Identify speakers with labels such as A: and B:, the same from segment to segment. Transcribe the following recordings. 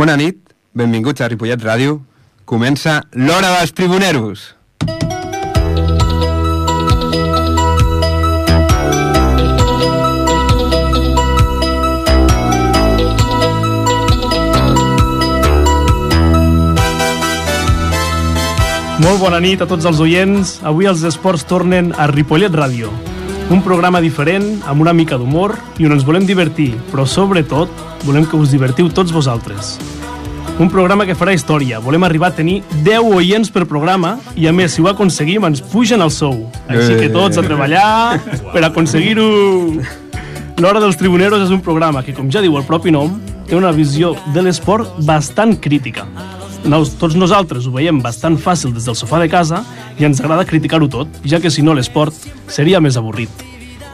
A: Bona nit, benvinguts a Ripollet Ràdio. Comença l'Hora dels Tribuneros.
B: Molt bona nit a tots els oients. Avui els esports tornen a Ripollet Ràdio. Un programa diferent, amb una mica d'humor i on ens volem divertir, però sobretot volem que us divertiu tots vosaltres. Un programa que farà història. Volem arribar a tenir 10 oients per programa i, a més, si ho aconseguim, ens pugen el sou. Així que tots a treballar per aconseguir-ho! L'Hora dels Tribuneros és un programa que, com ja diu el propi nom, té una visió de l'esport bastant crítica. Nos, tots nosaltres ho veiem bastant fàcil des del sofà de casa i ens agrada criticar-ho tot, ja que si no l'esport seria més avorrit.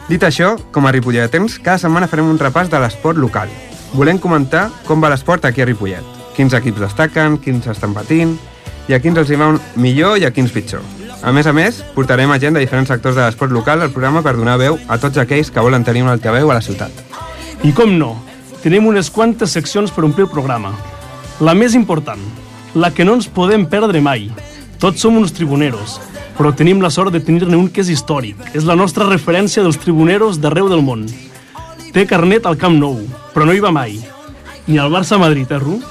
A: Dit això, com a Ripollet de Temps, cada setmana farem un repàs de l'esport local. Volem comentar com va l'esport aquí a Ripollet. Quins equips destaquen, quins estan patint, i a quins els hi va un- millor i a quins pitjor. A més a més, portarem a gent de diferents sectors de l'esport local al programa per donar veu a tots aquells que volen tenir un altaveu a la ciutat.
B: I com no, tenim unes quantes seccions per omplir el programa. La més important, la que no ens podem perdre mai. Tots som uns tribuneros, però tenim la sort de tenir-ne un que és històric. És la nostra referència dels tribuneros d'arreu del món. Té carnet al Camp Nou, però no hi va mai. Ni al Barça-Madrid, eh, Ru?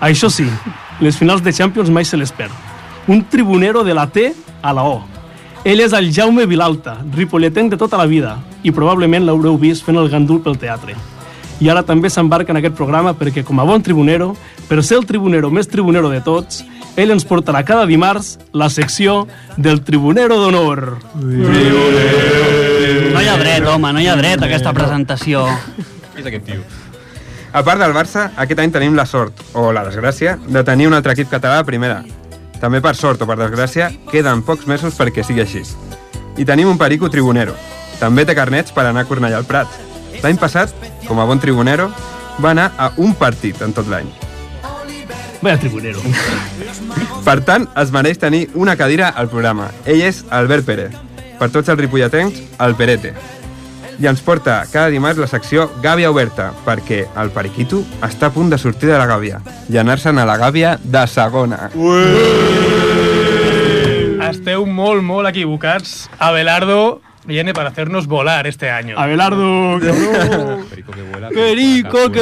B: Això sí, les finals de Champions mai se les perd. Un tribunero de la T a la O. Ell és el Jaume Vilalta, ripolletenc de tota la vida, i probablement l'haureu vist fent el gandul pel teatre. I ara també s'embarca en aquest programa perquè, com a bon tribunero, per ser el tribunero més tribunero de tots, ell ens portarà cada dimarts la secció del Tribunero d'Honor.
C: No hi ha dret, home, no hi ha dret a aquesta presentació.
A: A part del Barça, aquest any tenim la sort, o la desgràcia, de tenir un altre equip català a primera. També per sort o per desgràcia, queden pocs mesos perquè sigui així. I tenim un perico tribunero. També té carnets per anar a Cornellà al Prat. L'any passat, com a bon tribunero, va anar a un partit en tot l'any.
B: Vaya tribunero.
A: Per tant, es mereix tenir una cadira al programa. Ell és Albert Pérez. Per tots els ripollatencs, el Perete. I ens porta cada dimarts la secció Gàbia Oberta, perquè el periquito està a punt de sortir de la gàbia i anar-se'n a la gàbia de segona.
D: Esteu molt, molt equivocats. Abelardo viene para hacernos volar este año.
B: Abelardo, cabrón. Perico que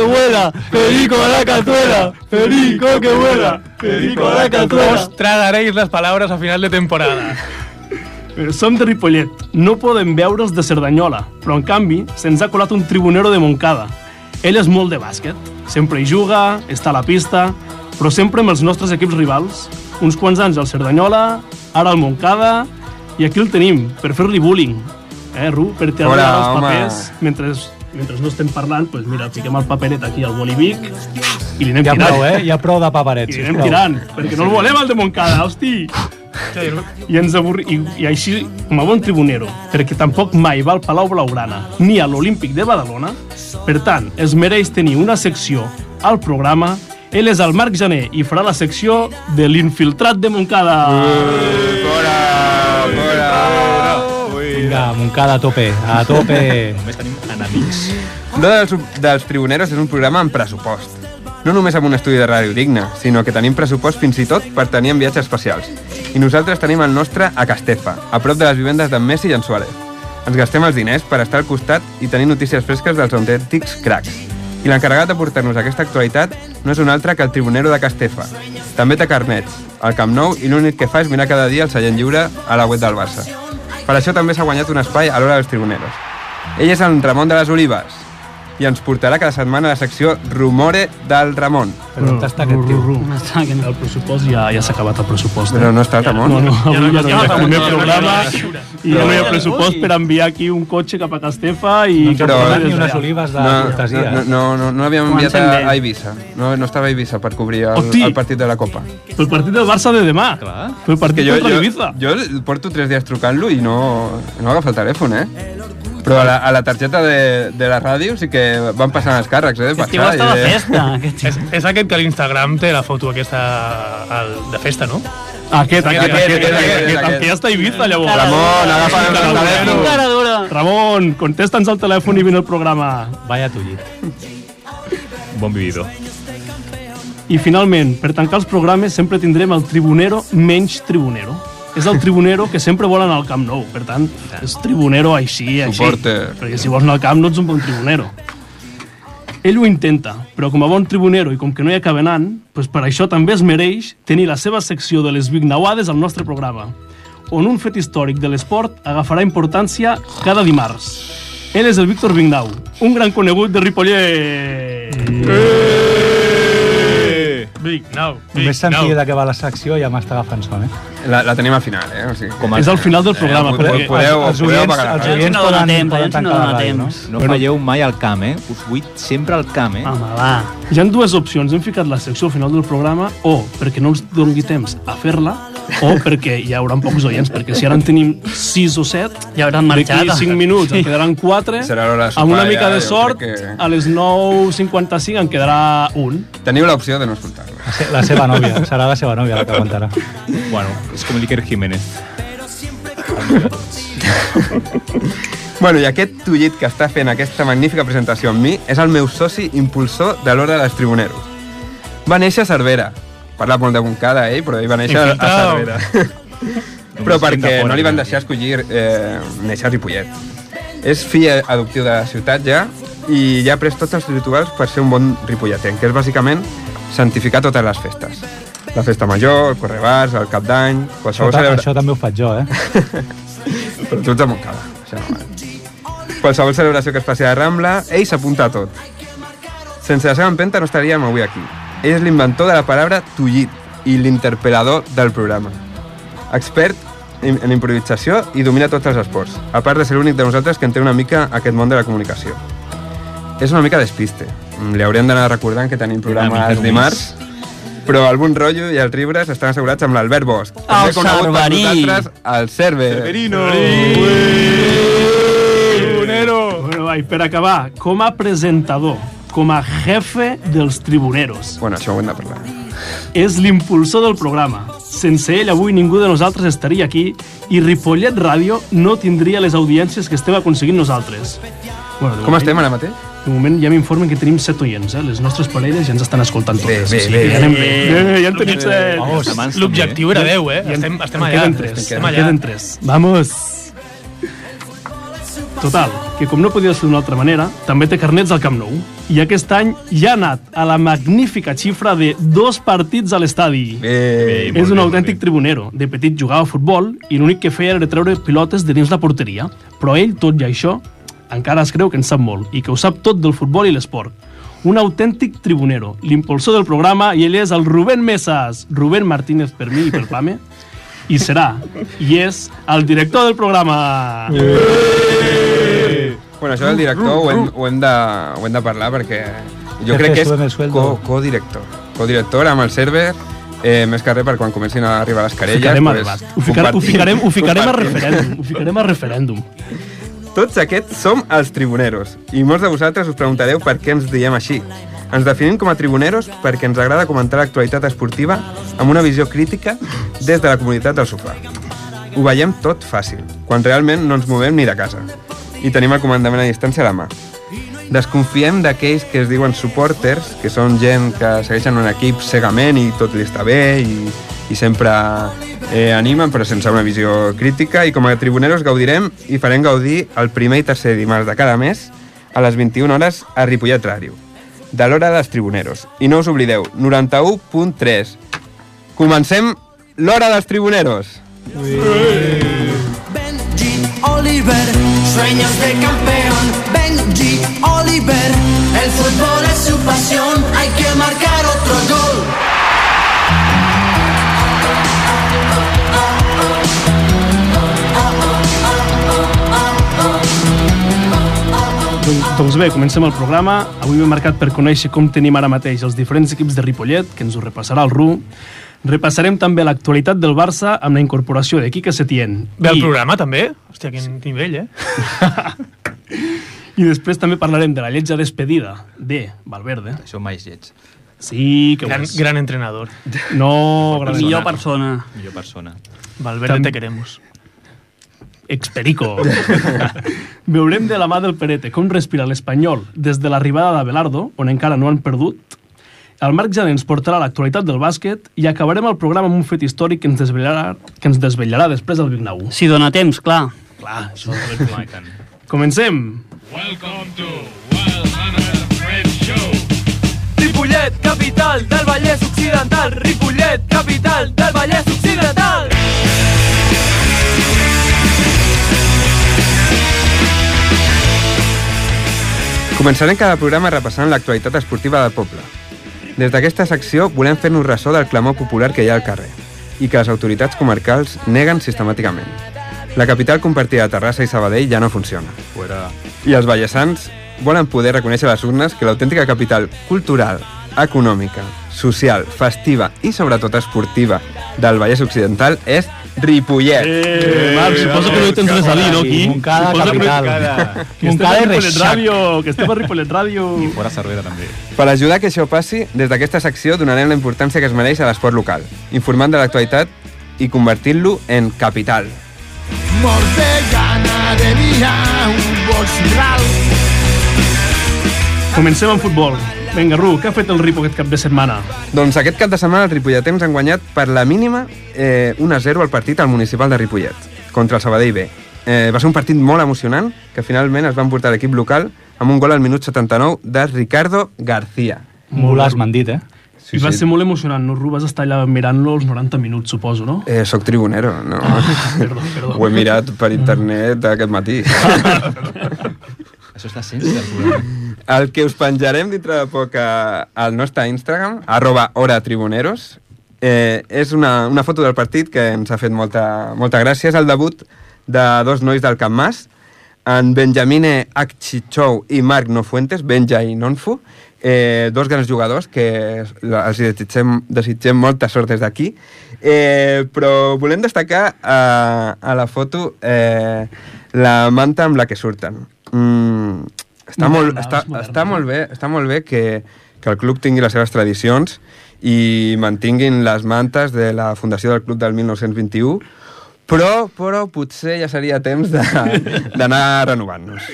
B: vuela, perico a la cazuela, perico que vuela, perico a la
D: Os tragaréis las palabras a final de temporada.
B: Som de Ripollet, no podem veure els de Cerdanyola, però en canvi se'ns ha colat un tribunero de Montcada. Ell és molt de bàsquet, sempre hi juga, està a la pista, però sempre amb els nostres equips rivals. Uns quants anys al Cerdanyola, ara al Montcada, i aquí el tenim, per fer-li bullying. Eh, Ru, per tirar
A: Hola,
B: els
A: home.
B: papers, mentre, mentre no estem parlant, doncs mira, fiquem el paperet aquí al bolivic i li anem
E: Hi ha
B: tirant.
E: prou, eh? Hi ha prou de
B: I
E: paperets.
B: li anem
E: sisplau.
B: tirant, perquè no el volem el de Montcada, hosti! i ens avorri... I, i així, com a bon tribunero, perquè tampoc mai va al Palau Blaugrana ni a l'Olímpic de Badalona, per tant, es mereix tenir una secció al programa ell és el Marc Janer i farà la secció de l'infiltrat de Montcada.
A: Fora! Fora!
E: Vinga, Montcada a tope, a tope.
A: Dos dels, dels Tribuneros és un programa amb pressupost. No només amb un estudi de ràdio digne, sinó que tenim pressupost fins i tot per tenir en viatges especials. I nosaltres tenim el nostre a Castefa, a prop de les vivendes d'en Messi i en Suárez. Ens gastem els diners per estar al costat i tenir notícies fresques dels autèntics cracs. I l'encarregat de portar-nos aquesta actualitat no és un altre que el tribunero de Castefa. També té carnets, al Camp Nou i l'únic que fa és mirar cada dia el seient lliure a la web del Barça. Per això també s'ha guanyat un espai a l'hora dels tribuneros. Ell és el Ramon de les Olives i ens portarà cada setmana a la secció Rumore del Ramon.
E: Però on està aquest tio?
C: Està que no.
B: El pressupost ja, ja s'ha acabat el pressupost.
A: Però no està el Ramon.
B: No, no, avui ja no hi ha
C: ja no,
B: primer
C: ja no,
B: programa
C: ja
B: i ja no hi ha pressupost per enviar aquí un cotxe cap a Castefa i...
E: No ens
A: Però-
E: però,
B: cap a
E: ni unes
B: allà.
E: olives de
A: No,
E: cortesia.
A: no, no, no, no l'havíem enviat
C: Comencem
A: a,
C: bé.
A: a Eivissa. No, no estava a Eivissa per cobrir el,
B: Hosti!
A: el partit de la Copa.
B: Pel partit del Barça de demà.
D: Clar.
B: Pel partit
A: jo,
B: contra
A: jo,
B: l'Ibiza.
A: jo porto tres dies trucant-lo i no, no agafa el telèfon, eh? Però a la, a la targeta de, de la ràdio sí que van passant els càrrecs, eh? de
C: Aquest tio
A: i
C: està de
A: de-
C: festa. Aquest tio.
D: És, és aquest que a l'Instagram té la foto aquesta el, de festa, no?
B: Aquest, aquest, aquest, aquest, aquest, aquest, aquest,
A: aquest.
B: el que ja està a Ibiza, llavors.
A: Ramon, agafa el
B: Ramon.
C: Quin
A: telèfon.
C: cara dura.
B: Ramon, contesta'ns al telèfon i vine al programa.
E: Vaya tullit.
F: Bon vivido.
B: I finalment, per tancar els programes sempre tindrem el tribunero menys tribunero. És el tribunero que sempre vol anar al Camp Nou, per tant, és tribunero així, així.
A: Suporte.
B: Perquè si vols anar al Camp no ets un bon tribunero. Ell ho intenta, però com a bon tribunero i com que no hi acaba anant, doncs per això també es mereix tenir la seva secció de les vignauades al nostre programa, on un fet històric de l'esport agafarà importància cada dimarts. Ell és el Víctor Vignau, un gran conegut de Ripollet.
A: Eh.
D: Big now, big
E: Només sentir
D: now.
E: de què va la secció ja m'està agafant son, eh?
A: La, la tenim al final, eh? O sigui,
F: Com
B: És al final del
A: Eh,
B: programa,
A: podeu-
B: perquè
A: podeu-
E: els, els
A: podeu
E: oients,
A: apagar la
E: els
A: ràdio.
E: oients
C: No dona
E: poden,
C: temps,
E: poden
C: els oients no
E: tancar la
C: dona
E: ràdio, no?
C: temps.
F: No falleu mai al camp, eh? Us vull sempre al camp, eh?
C: Home, va.
B: hi han dues opcions. Hem ficat la secció al final del programa o perquè no ens doni temps a fer-la o perquè hi haurà pocs oients, perquè si ara en tenim 6 o 7,
C: Ja hauran marxat.
B: D'aquí 5 minuts en quedaran 4.
A: Serà l'hora de sopar,
B: Amb una
A: ja,
B: mica de
A: jo
B: sort,
A: crec que-
B: a les 9.55 en quedarà un.
A: Teniu l'opció de no escoltar-la.
E: La se- La seva nòvia, serà la seva nòvia la que aguantarà.
F: Bueno, és com l'Iker Jiménez.
A: Bueno, i aquest tullit que està fent aquesta magnífica presentació amb mi és el meu soci impulsor de l'Hora dels Tribuneros. Va néixer a Cervera. Parla molt de Montcada, ell, però ell va néixer a
D: Infiltrado.
A: Cervera. però
F: Només
A: perquè
F: fent de
A: no li van
F: fora,
A: deixar escollir eh, néixer a Ripollet. És fill adoptiu de la ciutat ja i ja ha pres tots els rituals per ser un bon ripolletent, que és bàsicament santificar totes les festes. La festa major, el correbars, el cap d'any...
E: Això,
A: qualsevol
E: ta-
A: celebra-
E: això també ho faig jo, eh?
A: però tu ets de Montcada. Això no val. Qualsevol celebració que es faci a la Rambla, ell s'apunta a tot. Sense la seva empenta no estaríem avui aquí. Ell és l'inventor de la paraula tullit i l'interpel·lador del programa. Expert en en improvisació i domina tots els esports, a part de ser l'únic de nosaltres que entén una mica aquest món de la comunicació. És una mica despiste. Mm, Li hauríem d'anar recordant que tenim
F: mica
A: programa els
F: només.
A: dimarts, però el bon rotllo i els ribres estan assegurats amb l'Albert Bosch.
C: El
A: conegut per
C: Cerverí.
A: nosaltres, el Cerve. Cerverino.
B: Bueno, va, i per acabar, com a presentador, com a jefe dels tribuneros,
A: Bueno, això ho hem de parlar.
B: és l'impulsor del programa. Sense ell, avui ningú de nosaltres estaria aquí i Ripollet Ràdio no tindria les audiències que estem aconseguint nosaltres. Bueno, de
A: Com
B: moment-
A: estem ara mateix?
B: De moment ja m'informen que tenim 7 oients, eh? Les nostres parelles ja ens estan escoltant
A: Bé,
B: totes.
A: bé,
B: o sigui
A: bé,
B: que
A: bé.
B: ja anem bé. Eh, ja en tenim 7.
F: Vamos, amants, també.
D: L'objectiu era 10, eh? Estem, estem
B: En
D: allà.
B: Queden tres.
D: Estem
B: en
D: allà.
B: Queden tres. Vamos. Total, que com no podia ser d'una altra manera, també té carnets al Camp Nou. I aquest any ja ha anat a la magnífica xifra de dos partits a l'estadi.
A: Bé.
B: És un autèntic tribunero. De petit jugava a futbol i l'únic que feia era treure pilotes de dins la porteria. Però ell, tot i això, encara es creu que en sap molt i que ho sap tot del futbol i l'esport. Un autèntic tribunero, l'impulsor del programa, i ell és el Rubén Mesas. Rubén Martínez per mi i per Pame. I serà, i és, el director del programa.
A: Bueno, això del director ho hem, ho hem, de, ho hem de parlar perquè jo
E: Jefe,
A: crec que
E: súbeme el
A: és
E: sueldo.
A: co- codirector. Codirector amb el server, eh, més que res per quan comencin a arribar les
B: Ho
A: querelles.
B: ficarem a
A: pues,
B: debat. Ho, ficar, ho
A: compartim-
B: ficarem, ho ficarem a
A: compartim.
B: referèndum. Ho ficarem a referèndum.
A: Tots aquests som els tribuneros i molts de vosaltres us preguntareu per què ens diem així. Ens definim com a tribuneros perquè ens agrada comentar l'actualitat esportiva amb una visió crítica des de la comunitat del sofà. Ho veiem tot fàcil, quan realment no ens movem ni de casa. I tenim el comandament a distància a la mà. Desconfiem d'aquells que es diuen supporters, que són gent que segueixen un equip cegament i tot li està bé i, i sempre eh, animen, però sense una visió crítica. I com a tribuneros gaudirem i farem gaudir el primer i tercer dimarts de cada mes a les 21 hores a Ripollet Ràdio, de l'hora dels tribuneros. I no us oblideu, 91.3. Comencem l'hora dels tribuneros.
G: Benji Oliver, sueños de campeón. Benji Oliver, el fútbol es su pasión. Hay que marcar otro gol.
B: Doncs- Doncs bé, comencem el programa. Avui hem marcat per conèixer com tenim ara mateix els diferents equips de Ripollet, que ens ho repassarà el RU. Repassarem també l'actualitat del Barça amb la incorporació de Quique Setién.
D: Ve el
B: I,
D: programa, també? Hòstia, quin nivell, eh?
B: I després també parlarem de la lletja despedida de Valverde.
F: Això mai és lleig.
B: Sí, que ho
D: Gran,
B: és.
D: gran entrenador.
B: No, gran
C: Millor
B: persona.
C: persona.
F: Millor persona.
D: Valverde,
B: Tam-
D: te queremos.
B: Experico. Veurem de la mà del Perete com respira l'Espanyol des de l'arribada d'Abelardo, on encara no han perdut, El Marc Jané ens portarà l'actualitat del bàsquet i acabarem el programa amb un fet històric que ens desvetllarà, que ens desvetllarà després del Vignau.
C: Si dona temps, clar.
B: Clar, això Comencem!
H: Ripollet, capital del Vallès Occidental. Ripollet, capital del Vallès Occidental.
A: Començarem cada programa repassant l'actualitat esportiva del poble. Des d'aquesta secció volem fer-nos ressò del clamor popular que hi ha al carrer i que les autoritats comarcals neguen sistemàticament. La capital compartida de Terrassa i Sabadell ja no funciona.
F: Fuera.
A: I els ballesans volen poder reconèixer a les urnes que l'autèntica capital cultural, econòmica, social, festiva i sobretot esportiva del Vallès Occidental és Ripollet.
B: Eh, Marc, suposo que no hi tens res a dir, no, aquí?
E: Montcada,
B: Suposo que no hi-
E: capital.
B: Que estem a
E: Montcada i
B: Ripollet
E: Reixac.
B: Ràdio, que estem a Ripollet Ràdio.
F: I fora Cervera també.
A: Per ajudar que això passi, des d'aquesta secció donarem la importància que es mereix a l'esport local, informant de l'actualitat i convertint-lo en capital.
G: Mort de gana de via, un bolsirral.
B: Comencem amb futbol. Vinga, Ru, què ha fet el Ripo aquest cap de setmana?
A: Doncs aquest cap de setmana els ripolletens han guanyat per la mínima eh, 1-0 el partit al municipal de Ripollet contra el Sabadell B. Eh, va ser un partit molt emocionant que finalment es va emportar l'equip local amb un gol al minut 79 de Ricardo García.
E: Mules m'han dit, eh?
B: Sí, I va ser molt emocionant, no, Ru? Vas estar allà mirant-lo els 90 minuts, suposo, no?
A: Eh, soc tribunero, no?
B: Ah, Perdó, perdó.
A: Ho he mirat per internet aquest matí.
F: Això és l'essència del programa.
A: El que us penjarem dintre de poc a, al nostre Instagram, arroba hora tribuneros, eh, és una, una foto del partit que ens ha fet molta, molta gràcia. És el debut de dos nois del Camp Mas, en Benjamine Akchichou i Marc Nofuentes, Benja i Nonfu, eh, dos grans jugadors que la- els desitgem, desitgem molta sort des d'aquí. Eh, però volem destacar a, a la foto eh, la manta amb la que surten. Mm, està, molt,
B: Moderna,
A: està,
B: és moderna.
A: està molt bé, està molt bé que, que el club tingui les seves tradicions i mantinguin les mantes de la fundació del club del 1921, però, però potser ja seria temps de- d'anar renovant-nos.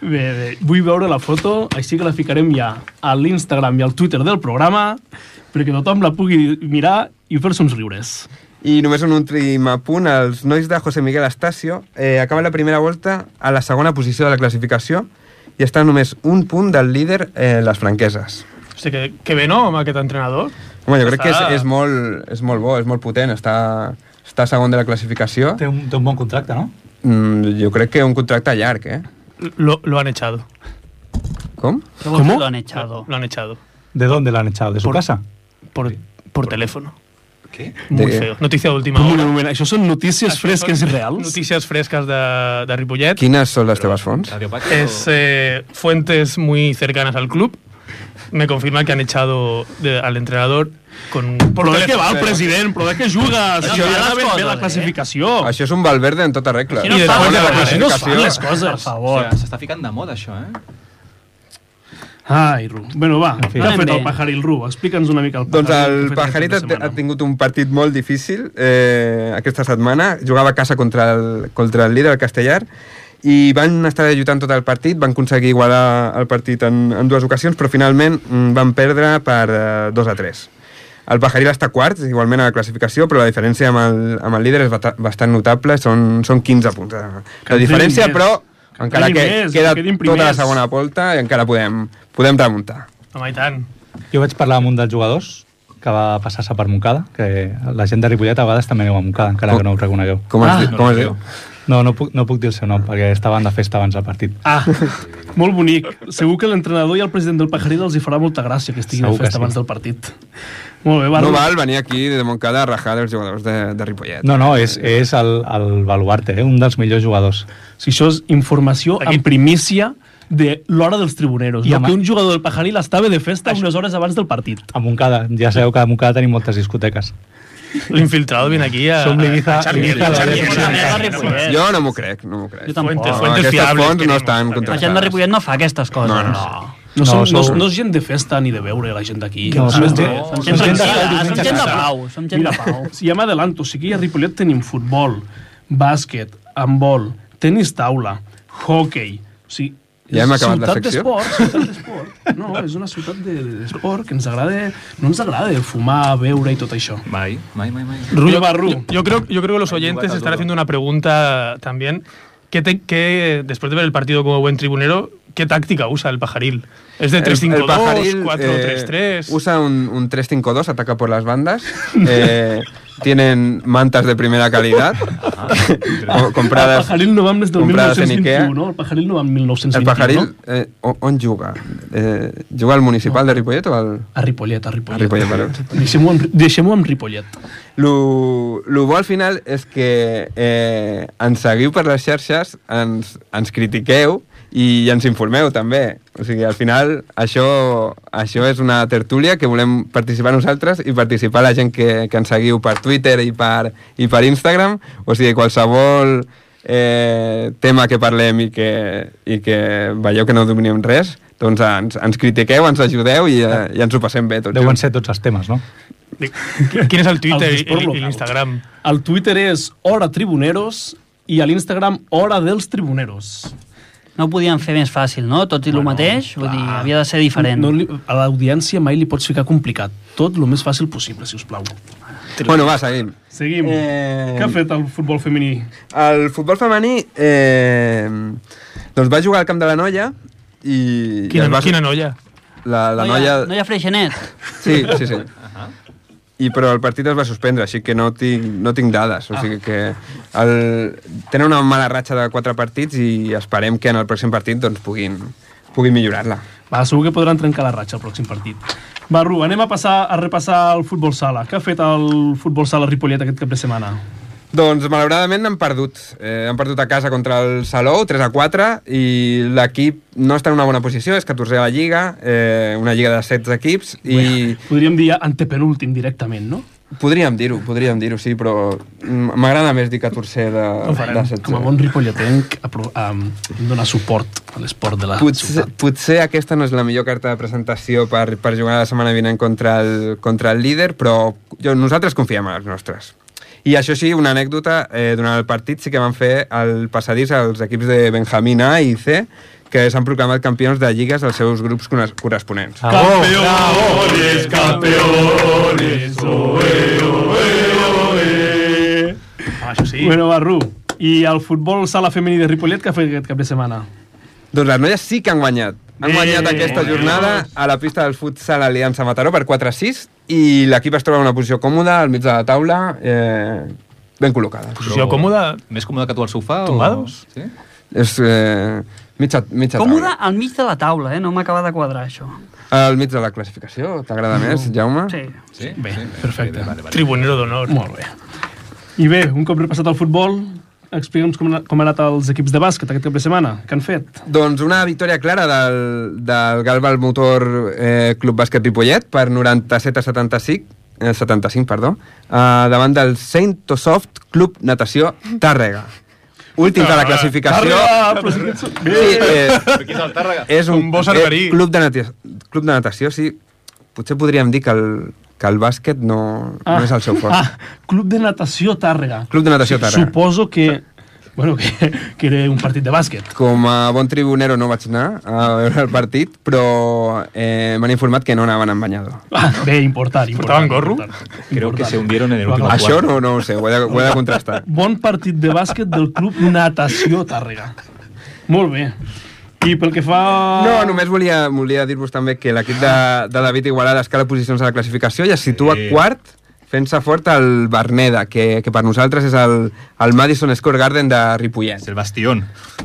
B: Bé, bé, vull veure la foto, així que la ficarem ja a l'Instagram i al Twitter del programa perquè tothom la pugui mirar i fer-se uns riures.
A: I només un últim apunt, els nois de José Miguel Astacio eh, acaben la primera volta a la segona posició de la classificació i estan només un punt del líder eh, les franqueses.
D: Hosti, que, que bé, no, amb aquest entrenador?
A: Home, jo crec que és,
D: Està-
A: és, molt, és molt bo, és molt potent, està, està segon de la classificació.
E: Té un, té un bon contracte, no?
A: Mm, jo crec que un contracte llarg, eh?
D: Lo, lo han echado.
A: Com?
B: ¿Cómo?
C: Lo han echado.
D: Lo han echado.
E: ¿De dónde la han echado? ¿De su
D: Por-
E: casa?
D: Por, por teléfono.
F: Què?
D: Muy
A: De-
D: feo. Noticia de última
B: Un moment,
D: hora.
B: un moment, això són notícies
D: Això
B: fresques i
D: són
B: reals?
D: Notícies frescas de, de Ripollet.
A: Quines són les teves fonts?
F: Radio Paco.
D: Es eh, fuentes muy cercanas al club. Me confirman que han echado de- al entrenador con...
B: Però de
D: teléfono.
B: què va el president? Però de què jugues?
C: Això
B: Això ja
C: ja les
B: està ben bé
C: coses,
B: la
C: eh?
B: classificació.
A: Això és un Valverde en tota regla.
D: Aquí no I es fa
A: Segona
D: res,
A: la
D: aquí
B: no es fan
A: classificació.
B: les coses, per favor.
F: Hòstia, S'està ficant de moda, això, eh?
B: Ai, Ru. Bueno, va,
E: En fi.
B: què ha
C: Anem
B: fet el
C: bé.
B: pajaril, Ru? Explica'ns una mica el pajaril.
A: Doncs el
B: que ha fet aquest
A: Pajarit ha,
B: cap de
A: ha
B: setmana.
A: tingut un partit molt difícil eh, aquesta setmana. Jugava a casa contra el, contra el líder, el Castellar, i van estar lluitant tot el partit, van aconseguir igualar el partit en, en dues ocasions, però finalment mm, van perdre per eh, 2 a 3. El Pajaril està quarts, igualment a la classificació, però la diferència amb el, amb el líder és bata- bastant notable, són, són 15 punts. de- La
B: Que en
A: diferència,
B: tinguin més.
A: però,
B: Que en
A: encara que
B: tinguin més, que
A: queda
B: quedin
A: tota la
B: primers.
A: segona volta i encara podem, podem remuntar.
D: Home, i tant.
E: Jo vaig parlar amb un dels jugadors que va passar-se per Montcada, que la gent de Ripollet a vegades també aneu a Montcada, encara que no ho reconegueu.
A: Com es,
B: Ah.
A: di- com es diu?
E: No, no puc, no puc dir el seu nom, perquè estaven de festa abans del partit.
B: Ah, molt bonic. Segur que l'entrenador i el president del Pajaril els hi farà molta gràcia que estiguin Segur
E: Segur
B: a
E: que
B: festa
E: sí.
B: abans del partit. Molt bé, va,
A: No
B: Ru.
A: val venir aquí de Montcada a rajar els jugadors de, de Ripollet.
E: No, no, és, és el, el baluarte, eh? un dels millors jugadors.
B: Si això és informació en primícia de l'hora dels tribuneros,
E: I
B: no?
E: amb-
B: que un jugador del Pajaril estava de festa unes hores abans del partit.
E: A Montcada, ja sabeu que a Montcada tenim moltes discoteques.
D: L'infiltrado viene aquí a...
E: Som l'Ibiza-
D: a echar mierda,
E: l'Ibiza
D: a echar
E: de
D: mierda.
E: Ripollet.
D: Mierda, Ripollet.
A: Jo no m'ho crec, no m'ho crec.
C: Jo tampoc.
D: Fuentes,
A: No,
D: fuentes
A: aquestes
D: fiables
A: fonts no
D: queremos.
A: estan contra-
C: La gent de Ripollet no fa aquestes coses.
A: No, no,
B: No,
E: No,
B: som, no,
E: sou-
B: no és gent de festa ni de beure, la gent d'aquí. Ah,
E: No,
B: Som
E: no,
B: més de-
E: no.
B: som
C: Som gent
B: gent de-
C: tranquil·la, som gent de pau, som gent
B: Mira,
C: de pau.
B: si ja m'adelanto, o sigui, a Ripollet tenim futbol, bàsquet, handbol, tenis taula, hockey, o sigui,
A: Ja hem acabat la
B: ciutat
A: secció?
B: d'esport, Ciutat d'esport, No, és una ciutat de- de- d'esport que ens agrada... No ens agrada fumar, beure i tot això.
F: Mai, mai, mai, mai.
B: Ru,
D: Yo-
B: va, Ru.
D: Yo, yo creo, yo creo que los oyentes están haciendo una pregunta también. ¿Qué te- qué, después de ver el partido como buen tribunero, ¿qué táctica usa el eh, pajaril? ¿Es de 3-5-2,
A: eh,
D: 4-3-3?
A: usa un, un 3-5-2, ataca por las bandas. Eh, tienen mantas de primera calidad, o-
B: El
A: compradas...
B: Pajaril no va amb les del
A: comprades en
B: 1921,
A: Ikea.
B: no? El Pajaril no va amb 1921,
A: El Pajaril,
B: no?
A: eh, o- on juga? Eh, juga al municipal de Ripollet o al...?
B: A Ripollet, a Ripollet.
A: A Ripollet, vale.
B: Deixem-ho amb, deixem amb Ripollet.
A: Lo, lo bo al final és que eh, ens seguiu per les xarxes, ens, ens critiqueu i ens informeu també. O sigui, al final això, això és una tertúlia que volem participar nosaltres i participar la gent que, que ens seguiu per Twitter i per, i per Instagram. O sigui, qualsevol eh, tema que parlem i que, i que veieu que no dominem res, doncs ens, ens critiqueu, ens ajudeu i, eh, i ens ho passem bé tots
E: Deuen
A: junts.
E: ser tots els temes, no?
D: ¿Quién es el Twitter
B: Els
D: y
B: d'esport
D: el,
B: local.
D: Instagram?
B: El Twitter és Hora Tribuneros i a l'Instagram Hora dels Tribuneros.
C: No ho podíem fer més fàcil, no? Tot i el mateix, vull dir,
B: clar.
C: havia de ser diferent.
B: No, li, a l'audiència mai li pots ficar complicat. Tot el més fàcil possible, si us plau.
A: Bueno, va, seguim.
B: Seguim.
A: Eh,
B: Què ha fet el futbol femení?
A: El futbol femení eh, doncs va jugar al camp de la noia i... i es
D: ¿Quién,
A: va,
D: quién anoya?
A: la, la
C: no
A: noia...
C: Hi ha, no hi ha freixenet.
A: Sí, sí, sí. I, però el partit es va suspendre, així que no tinc, no tinc dades. O sigui que el, tenen una mala ratxa de quatre partits i esperem que en el pròxim partit doncs, puguin, puguin millorar-la.
B: Va, segur que podran trencar la ratxa el pròxim partit. Va, Ru, anem a, passar, a repassar el futbol sala. Què ha fet el futbol sala Ripollet aquest cap de setmana?
A: Doncs malauradament han perdut. Eh, han perdut a casa contra el Salou, 3 a 4, i l'equip no està en una bona posició, és 14 a la Lliga, eh, una Lliga de 16 equips, i
B: Podríem dir antepenúltim directament, no?
A: podríem dir-ho, podríem dir-ho, sí, però m- m'agrada més dir 14 de, de 16.
B: Com a bon ripolletenc, a, pro- a, a donar suport a l'esport de la
A: Potser,
B: ciutat.
A: potser aquesta no és la millor carta de presentació per, per jugar la setmana vinent contra el, contra el líder, però jo, nosaltres confiem en els nostres. I això sí, una anècdota, eh, durant el partit sí que van fer el passadís als equips de Benjamín A i C, que s'han proclamat campions de lligues als seus grups cone- corresponents. Ah.
D: Campeones, campeones.
B: Ah, això sí. Bueno, va, Ru, i el futbol sala femení de Ripollet que ha fet aquest cap de setmana?
A: Doncs les noies sí que han guanyat. Han guanyat aquesta jornada a la pista del futsal Aliança Mataró per 4-6 i l'equip es troba en una posició còmoda al mig de la taula, eh, ben col·locada.
D: Posició còmoda.
F: Més còmode que tu al sofà
D: Tombados?
F: o... Sí?
A: És eh, mitja, mitja
C: Còmode
A: taula.
C: al mig de la taula, eh? No m'acaba de quadrar, això.
A: Al mig de la classificació, t'agrada més, Jaume?
C: Sí.
F: Sí?
B: Bé,
F: sí.
B: perfecte.
F: Vale, vale.
D: Tribunero de honor.
B: Molt bé. I bé, un cop repassat el futbol, explica'ns com, ha- com han anat els equips de bàsquet aquest cap de setmana. Què han fet?
A: Doncs una victòria clara del, del Galval Motor eh, Club Bàsquet Ripollet per 97 a 75, eh, 75 perdó, eh, davant del Saint Soft Club Natació Tàrrega. Últims de la classificació.
B: però sí que ets...
A: Sí, eh,
F: Aquí és el Tàrrega.
A: és un,
D: Un bo cerverí.
A: eh, club, de natació, club de natació, sí. Potser podríem dir que el, que el bàsquet no, no és el seu fort.
B: Ah, Club de Natació Tàrrega.
A: Club de natació Tàrrega.
B: Suposo que... Bueno, que, que era un partit de bàsquet.
A: Com a bon tribunero no vaig anar a veure el partit, però eh, m'han informat que no anaven en banyador.
B: Ah, bé, important, important.
D: Portaven gorro?
B: important,
F: Creo que
B: important.
F: se hundieron en el
B: Lo
F: último
B: acabo-
A: Això no, no ho sé, ho he de, ho he de contrastar.
B: Bon partit de bàsquet del Club Natació Tàrrega. Molt bé. I pel que fa...
A: No, només volia, volia dir-vos també que l'equip de, de David Igualada escala posicions a la classificació i es situa quart fent-se fort al Berneda, que, que per nosaltres és el, el Madison Square Garden de Ripollet.
F: És el bastión.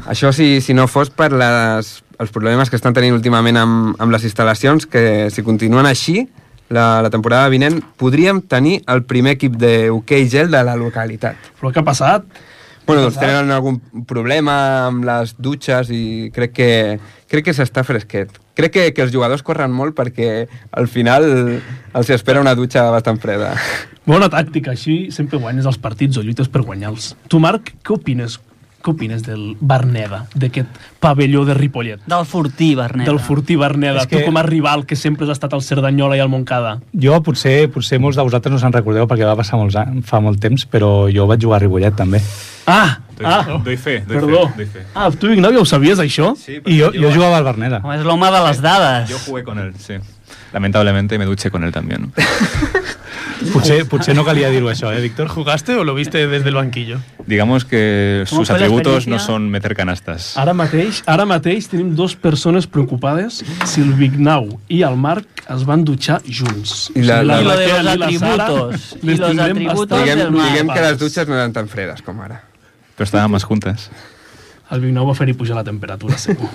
A: Això si, si no fos per les, els problemes que estan tenint últimament amb, amb les instal·lacions, que si continuen així, la, la temporada vinent podríem tenir el primer equip de hoquei gel de la localitat.
B: Però què ha passat?
A: Bueno, doncs tenen algun problema amb les dutxes i crec que, crec que s'està fresquet. Crec que, que els jugadors corren molt perquè al final els espera una dutxa bastant freda.
B: Bona tàctica, així sempre guanyes els partits o lluites per guanyar-los. Tu, Marc, què opines? Què opines del Berneda, d'aquest pavelló de Ripollet?
C: Del fortí, Berneda.
B: Del furtí Berneda,
E: És que-
B: tu com a rival que sempre has estat al Cerdanyola i al Montcada.
E: Jo, potser, potser molts de vosaltres no se'n recordeu perquè va passar molts anys, fa molt temps, però jo vaig jugar a Ripollet, també.
B: Ah,
I: Doy,
B: Ah.
I: doy fe, doy
B: Perdó.
I: fe, doy fe.
B: Ah, tu, Ignau, ja ho sabies, això?
I: Sí,
E: Y yo,
I: pero
E: yo jugaba al Barneda.
C: Home, és l'home de les dades.
I: Yo jugué con él, sí. Lamentablemente me duché con él también.
E: Potser, potser no calia dir-ho això, eh, Víctor?
D: ¿Jugaste o lo viste desde el banquillo?
I: Digamos que
C: ¿Cómo
I: sus
C: fue la
I: atributos no
C: experiencia? Ah.
I: son meter canastas.
B: Ara mateix, ara mateix tenim dues persones preocupades si el Vignau i el Marc es van dutxar junts.
A: I la- la-
B: O sigui,
A: I lo
C: de
B: Raquel
C: los
B: i la Sara
C: atributos.
B: les
C: I los
B: tindrem
C: atributos
B: bastant
C: del
A: Diguem,
C: mar.
A: diguem que les
B: preocupades.
A: dutxes no eren tan fredes com ara.
I: Pero estaban más juntas.
B: El Vignau va fer-hi pujar la temperatura, segur.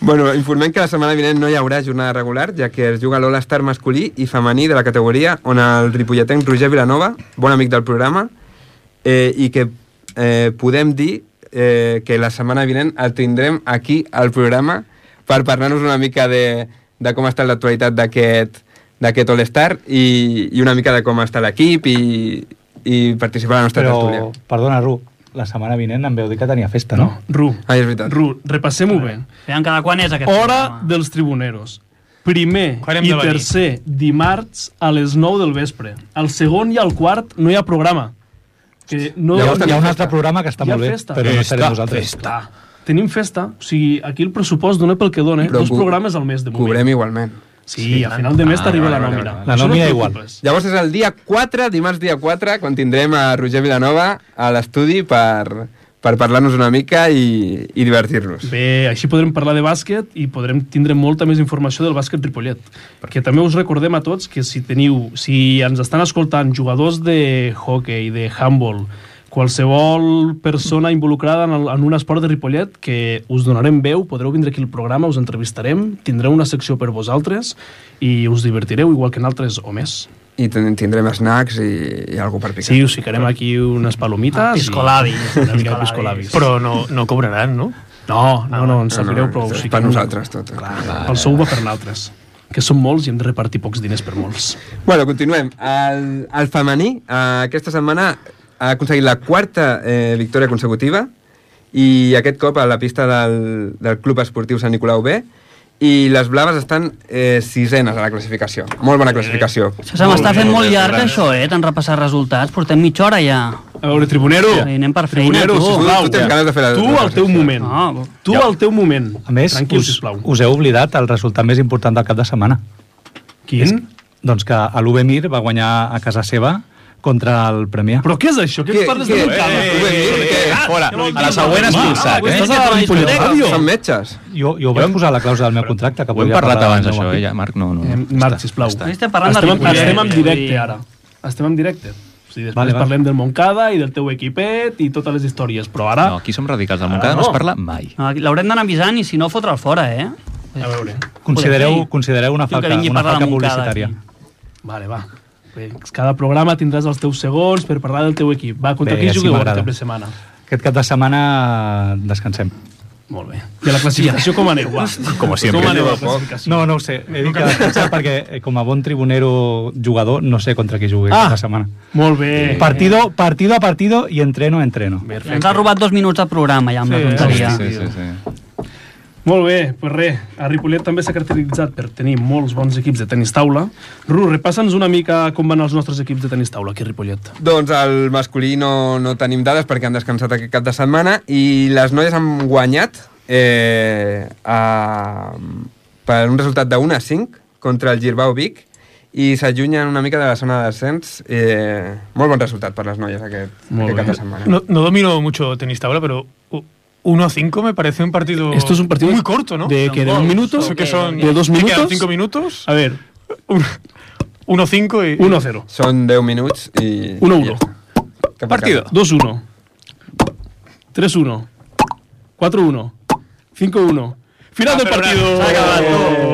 A: Bueno, informem que la setmana vinent no hi haurà jornada regular, ja que es juga l'All-Star masculí i femení de la categoria, on el ripolletenc Roger Vilanova, bon amic del programa, eh, i que eh, podem dir eh, que la setmana vinent el tindrem aquí al programa per parlar-nos una mica de, de com està l'actualitat d'aquest d'aquest All-Star i, i una mica de com està l'equip i, i participar a la nostra Però...
E: Però,
A: tertúlia.
E: perdona, Ru, la setmana vinent em veu dir que tenia festa, no?
B: Ru,
A: Ah, és veritat.
B: Ru, repassem-ho bé.
C: Veiem cada quan és aquest
B: Hora
C: programa.
B: dels tribuneros. Primer
D: Quan hem
B: i
D: de venir?
B: tercer dimarts a les 9 del vespre. Al segon i al quart no hi ha programa. Que no,
E: Hi ha,
A: Llavors
E: hi ha
A: tenim
E: un
A: festa.
E: altre programa que està
B: Hi ha
E: molt bé,
B: festa.
E: però no seré
I: Festa,
E: vosaltres.
B: Festa. Tenim festa, o sigui, aquí el pressupost dona pel que dona, eh?
A: Però
B: dos
A: co-
B: programes al mes de moment.
A: Cobrem igualment.
B: Sí, a final de mes t'arriba la
A: vale,
B: nòmina.
A: vale,
E: vale. La
B: Això no
E: nòmina
B: et
E: igual.
B: preocupes.
A: Llavors és el dia 4, dimarts dia 4, quan tindrem a Roger Vilanova a l'estudi per, per parlar-nos una mica i, i divertir-nos.
B: Bé, així podrem parlar de bàsquet i podrem tindre molta més informació del bàsquet Ripollet. Perquè també us recordem a tots que si teniu, si ens estan escoltant jugadors de hockey, de handball, qualsevol persona involucrada en, el, en un esport de Ripollet que us donarem veu, podreu vindre aquí al programa, us entrevistarem, tindreu una secció per vosaltres i us divertireu igual que en altres o més.
A: I ten- tindrem snacks i, i alguna per picar.
B: Sí, us ficarem aquí unes
D: Ah,
B: palomites. i-
C: Piscolabis,
B: Una mica de Ah,
C: piscolabis.
B: piscolabis.
D: Pero no, no cobrarán, ¿no?
B: No, no, no, ens
A: No,
B: sap
A: no,
B: greu,
A: Ah, no,
B: però...
A: és
B: sí que
A: per
B: no.
A: nosaltres, tot.
B: Clar, el sou va per naltres, que som molts i hem de repartir pocs diners per molts.
A: Bueno, continuem. El, el femení eh, aquesta setmana ha aconseguit la quarta eh, victòria consecutiva i aquest cop a la pista del, del Club Esportiu Sant Nicolau B i les blaves estan eh, sisenes a la classificació. Molt bona classificació.
C: Se m'està fent molt llarg, això, eh? Tant repassar resultats. Portem mitja hora ja.
B: A veure, Tribunero,
C: Sí, anem per feina,
B: tribunero
C: tu.
A: Tu- tu tens ganes de fer la-
B: tu
A: la
B: al
A: reflexió.
B: teu moment.
C: Ah,
B: Tu al teu moment.
E: A més,
B: Tranquil,
E: us,
B: sisplau.
E: us heu oblidat el resultat més important del cap de setmana.
B: Quin?
E: Doncs que l'UB Mir va guanyar a casa seva contra el Premià.
B: Però què és això? Què ens parles de l'Ucama?
I: eh, eh, eh,
A: Ah,
I: fora. A la següent has
B: Ah,
I: pulsat, eh?
B: estàs a la Ripollet Ràdio.
A: Són metges.
E: Jo, jo ho vaig posar a la clàusula del meu contracte. Que
I: Ho hem
E: podia
I: parlat
E: parlar
I: abans,
E: del meu
I: això, eh,
E: equip.
I: ja, Marc? No, no.
B: Eh, Marc, sisplau.
C: està. Estem parlant de eh?
B: estem, en-
C: Ripollet,
B: Estem en
C: vull
B: directe,
C: dir.
B: ara. Estem en directe. O sigui, després
E: Vale, vale.
B: parlem del Montcada i del teu equipet i totes les històries, però ara...
I: No, aquí som radicals. Del Montcada
B: Ah,
I: no es
B: no.
I: parla mai.
C: No, aquí L'haurem d'anar avisant i si no fotre'l fora, eh?
B: A veure.
E: Considereu,
C: Joder,
E: considereu una
C: Diu que
E: falca,
C: vingui a
E: una
C: parlar
E: falca
C: de Montcada,
E: publicitària.
C: aquí.
B: Vale, va. Bé, cada programa tindràs els teus segons per parlar del teu equip. Va, contra
E: Bé,
B: qui
E: així
B: jugueu
E: m'agrada.
B: aquest cap de setmana?
E: Aquest cap de setmana descansem.
B: Molt bé. I a la classificació com aneu? Va.
I: Como siempre.
B: Com aneu a la
A: Poc.
B: classificació?
E: Ah, No, no ho sé. He dit que descansem perquè eh, com a bon tribunero jugador no sé contra qui jugui
B: Ah.
E: ah. aquesta setmana.
B: Molt bé.
E: Partido, partido a partido i entreno a entreno.
C: Ens ha robat dos minuts de programa, ja, amb
B: Sí,
C: la
I: Sí,
C: tonteria.
I: sí, sí, sí.
B: Molt bé, doncs pues res. A Ripollet també s'ha caracteritzat per tenir molts bons equips de tenis taula. Ru, repassa'ns una mica com van els nostres equips de tenis taula aquí a Ripollet.
A: Doncs el masculí no, no tenim dades perquè han descansat aquest cap de setmana i les noies han guanyat eh, a, per un resultat de 1 a 5 contra el Girbau Vic i s'allunyen una mica de la zona de descens. Eh, molt bon resultat per les noies aquest,
B: Molt
A: aquest cap
B: bé.
A: de setmana.
D: No, no domino mucho tenis tabla, pero 1-5 me parece un partido,
B: Esto es un partido
D: muy corto, ¿no?
B: de que de un minuto,
D: Eso que son,
B: de dos
D: ¿qué quedan?
B: minutos.
D: ¿Cinco minutos?
B: A veure,
D: 1-5 y...
B: 1-0.
A: Són 10 minuts i...
B: 1-1.
A: Cap a
I: Partido.
A: cap.
B: 2-1. 3-1. 4-1. 5-1. Final del partido! S'ha acabat.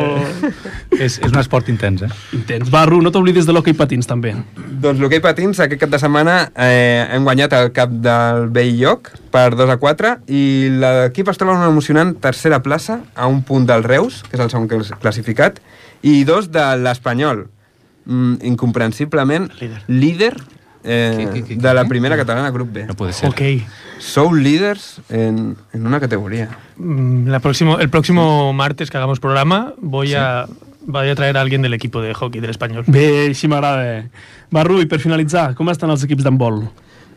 E: És, és un esport intens, eh?
B: Intens. Va, Ru, no t'oblidis de l'hoquei patins, també.
A: Doncs l'hoquei patins aquest cap de setmana eh, hem guanyat el cap del vell lloc per 2 a 4 i l'equip es troba en una emocionant tercera plaça a un punt del Reus, que és el segon clas- classificat, i dos de l'Espanyol, mm, incomprensiblement líder, líder eh,
F: Qui, qui, qui,
A: de la
F: qui?
A: primera catalana grup B.
F: No puede ser.
D: Ok.
A: Sou líders en, en una categoria.
D: Mm, La próximo, el próximo martes que hagamos programa voy, a, voy a traer a alguien del equipo de hockey del español.
B: Bé, així m'agrada. Va, Ru, i per finalitzar, com estan els equips d'handbol?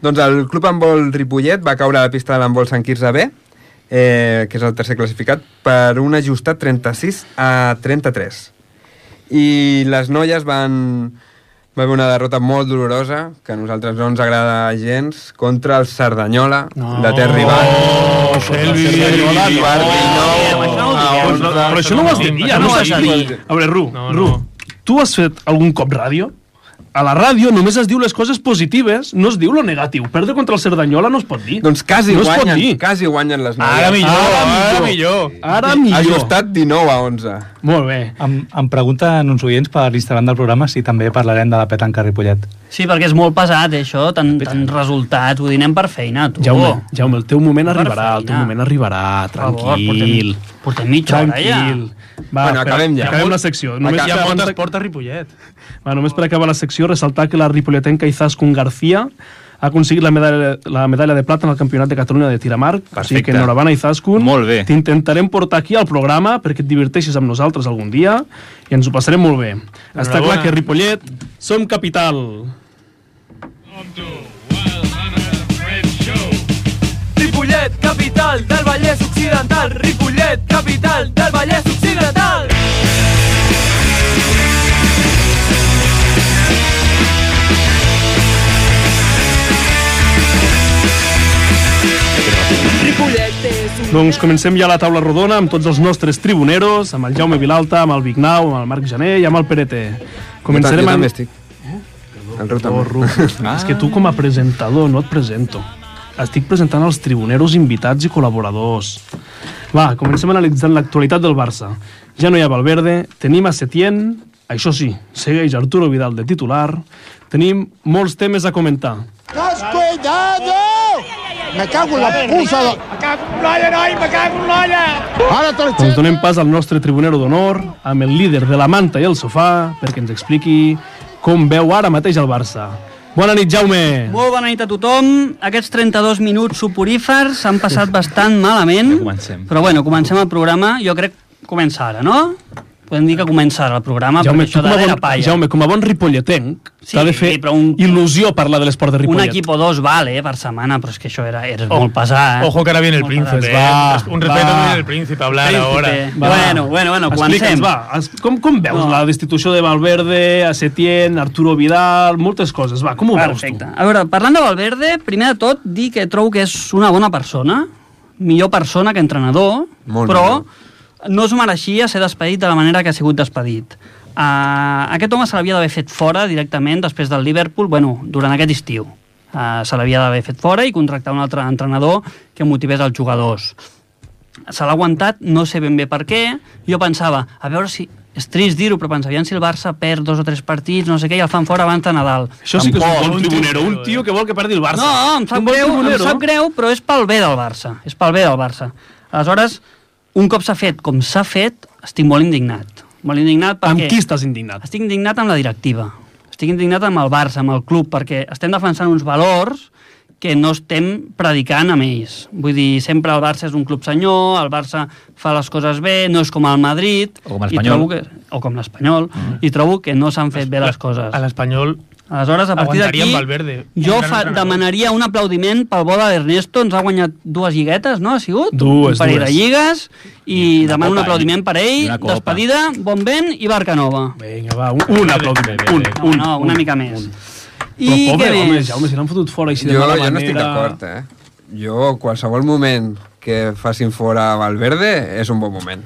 A: Doncs el Club Handbol Ripollet va caure a la pista de l'handbol Sant Quirze B, eh, que és el tercer classificat, per un ajustat 36 a 33. I les noies van... Va haver una derrota molt dolorosa, que a nosaltres no ens agrada gens, contra el Cerdanyola, no. de Ter Rival.
D: Oh, Selvi!
A: Selvi, Barbi, no, a
B: Però,
A: onze.
B: però això no ho has dit,
D: no,
B: ja
D: no
B: no ho
D: ho
B: has
D: has
B: dit.
D: dit.
B: A veure, Ru,
D: No,
B: Ru,
D: no.
B: tu has fet algun cop ràdio? A la ràdio només es diu les coses positives, no es diu lo negatiu. Perdre contra el Cerdanyola no es pot dir.
A: Doncs quasi
B: no es pot
A: guanyen,
B: dir.
A: quasi guanyen les noies.
D: Ara millor,
B: Ara
D: ara
B: millor.
D: millor.
B: Ara millor.
A: Ajustat 19 a 11.
B: Molt bé.
E: Em, em pregunten uns oients per l'Instagram del programa si també parlarem de la petanca a Ripollet.
C: Sí, perquè és molt pesat, eh, això, tant, tant resultat. Vull dir, anem per feina, tu.
B: Jaume, Jaume, el teu moment
C: Per
B: arribarà, el teu
C: Oh. feina.
B: moment arribarà,
C: Per favor,
B: tranquil.
C: Portem, portem mitja hora, ja.
B: Tranquil. Va,
A: Bueno,
B: espera,
A: acabem ja.
B: Acabem la secció. Només,
D: Hi ha
B: abans
D: moltes
B: de-
D: portes Ripollet.
B: Va, només per acabar la secció, ressaltar que la ripolletenca Izaskun García ha aconseguit la medalla, la medalla de plata en el Campionat de Catalunya de Tiramarc. O sigui
I: Perfecte.
B: que enhorabona, Izaskun.
I: Molt bé.
B: T'intentarem portar aquí al programa perquè et diverteixis amb nosaltres algun dia i ens ho passarem molt bé. Està clar que Ripollet som capital.
H: Ripollet, capital del Vallès Occidental. Ripollet, capital del Vallès Occidental. Ripollet és un...
B: Doncs comencem ja la taula rodona amb tots els nostres tribuneros, amb el Jaume Vilalta, amb el Vignau, amb el Marc Janer i amb el Perete.
A: Jo,
B: Començarem
A: ta- jo
B: amb... Eh?
A: també estic. El Ru també.
B: Porro. Ah. És que tu com a presentador no et presento. Estic presentant els tribuneros invitats i col·laboradors. Va, comencem analitzant l'actualitat del Barça. Ja no hi ha Valverde, tenim a Setién, això sí, segueix Arturo Vidal de titular, tenim molts temes a comentar. Doncs donem pas al nostre tribunero d'honor, amb el líder de la manta i el sofà, perquè ens expliqui com veu ara mateix el Barça. Bona nit, Jaume!
C: Molt bona nit a tothom. Aquests 32 minuts suporífers s'han passat bastant malament.
I: Ja comencem.
C: Però bueno, comencem el programa. Jo crec que comença ara, no? Podem dir que comença ara el programa,
B: Jaume,
C: perquè
B: tu
C: això
B: com a
C: d'ara era
B: bon,
C: palla.
B: Jaume, com a bon ripolletenc,
C: Sí,
B: t'ha de fer
C: però un-
B: il·lusió parlar de l'esport de
C: un
B: Ripollet.
C: equip o dos vale eh, per setmana, però és que això era, era
B: Oh,
C: molt pesat.
D: Ojo que ahora viene el
C: Molt
D: príncipe.
B: va,
D: eh. Un respeto
B: va.
D: que viene el príncipe a hablar
C: Príncipe.
D: ahora.
B: Va.
C: eh? Bueno, bueno, bueno,
B: Explica'ns,
C: comencem.
B: va, es- com, com veus
C: No.
B: la destitució de Valverde, a Setién, Arturo Vidal, moltes coses, va, com ho
C: Perfecte.
B: veus
C: A veure, parlant de Valverde, primer de tot, dir que trobo que és una bona persona, millor persona que entrenador,
A: Molt millor.
C: però no es mereixia ser despedit de la manera que ha sigut despedit. Uh, aquest home se l'havia d'haver fet fora directament després del Liverpool, bueno, durant aquest estiu. Uh, se l'havia d'haver fet fora i contractar un altre entrenador que motivés els jugadors. Se l'ha aguantat, no sé ben bé per què. Jo pensava, a veure si... És trist dir-ho, però pensava, aviam si el Barça perd dos o tres partits, no sé què, i el fan fora abans de Nadal.
B: tu? Això sí que és un bon
D: un
B: tribunero,
D: tio,
B: un tio que vol que perdi el Barça.
C: No, em sap,
B: un bon
C: greu, em
B: tribunero.
C: sap greu, però és pel bé del Barça. És pel bé del Barça. Aleshores, un cop s'ha fet com s'ha fet, estic molt indignat. Molt indignat perquè...
B: Amb qui estàs indignat?
C: Estic indignat amb la directiva. Estic indignat amb el Barça, amb el club, perquè estem defensant uns valors que no estem predicant amb ells. Vull dir, sempre el Barça és un club senyor, el Barça fa les coses bé, no és com el Madrid...
I: O com l'Espanyol.
C: i trobo que, o com l'Espanyol,
B: Mm.
C: i trobo que no s'han fet bé les coses.
D: Al español.
C: Aleshores, a partir d'aquí,
D: Aguantaria amb Valverde, un
C: jo
D: gran
C: fa,
D: entrenador.
C: demanaria un aplaudiment pel bo de l'Ernesto, ens ha guanyat dues lliguetes, no? Ha sigut?
B: Dues,
C: un parell
B: dues.
C: de lligues, i
I: una
C: demano un
I: copa,
C: aplaudiment
I: eh?
C: per
I: I
C: ell,
I: una copa.
C: despedida, bon vent i barca nova.
B: Vinga, va, un, un aplaudiment,
D: Bé, bé,
B: un,
D: bé.
C: No,
B: un,
C: no, una mica més. I
B: Però pobre,
C: què més?
B: home, Jaume, si l'han fotut fora així de
A: Jo,
B: mala
A: jo no estic
B: manera.
A: d'acord, eh? Jo, qualsevol moment que facin fora a Valverde és un bon moment.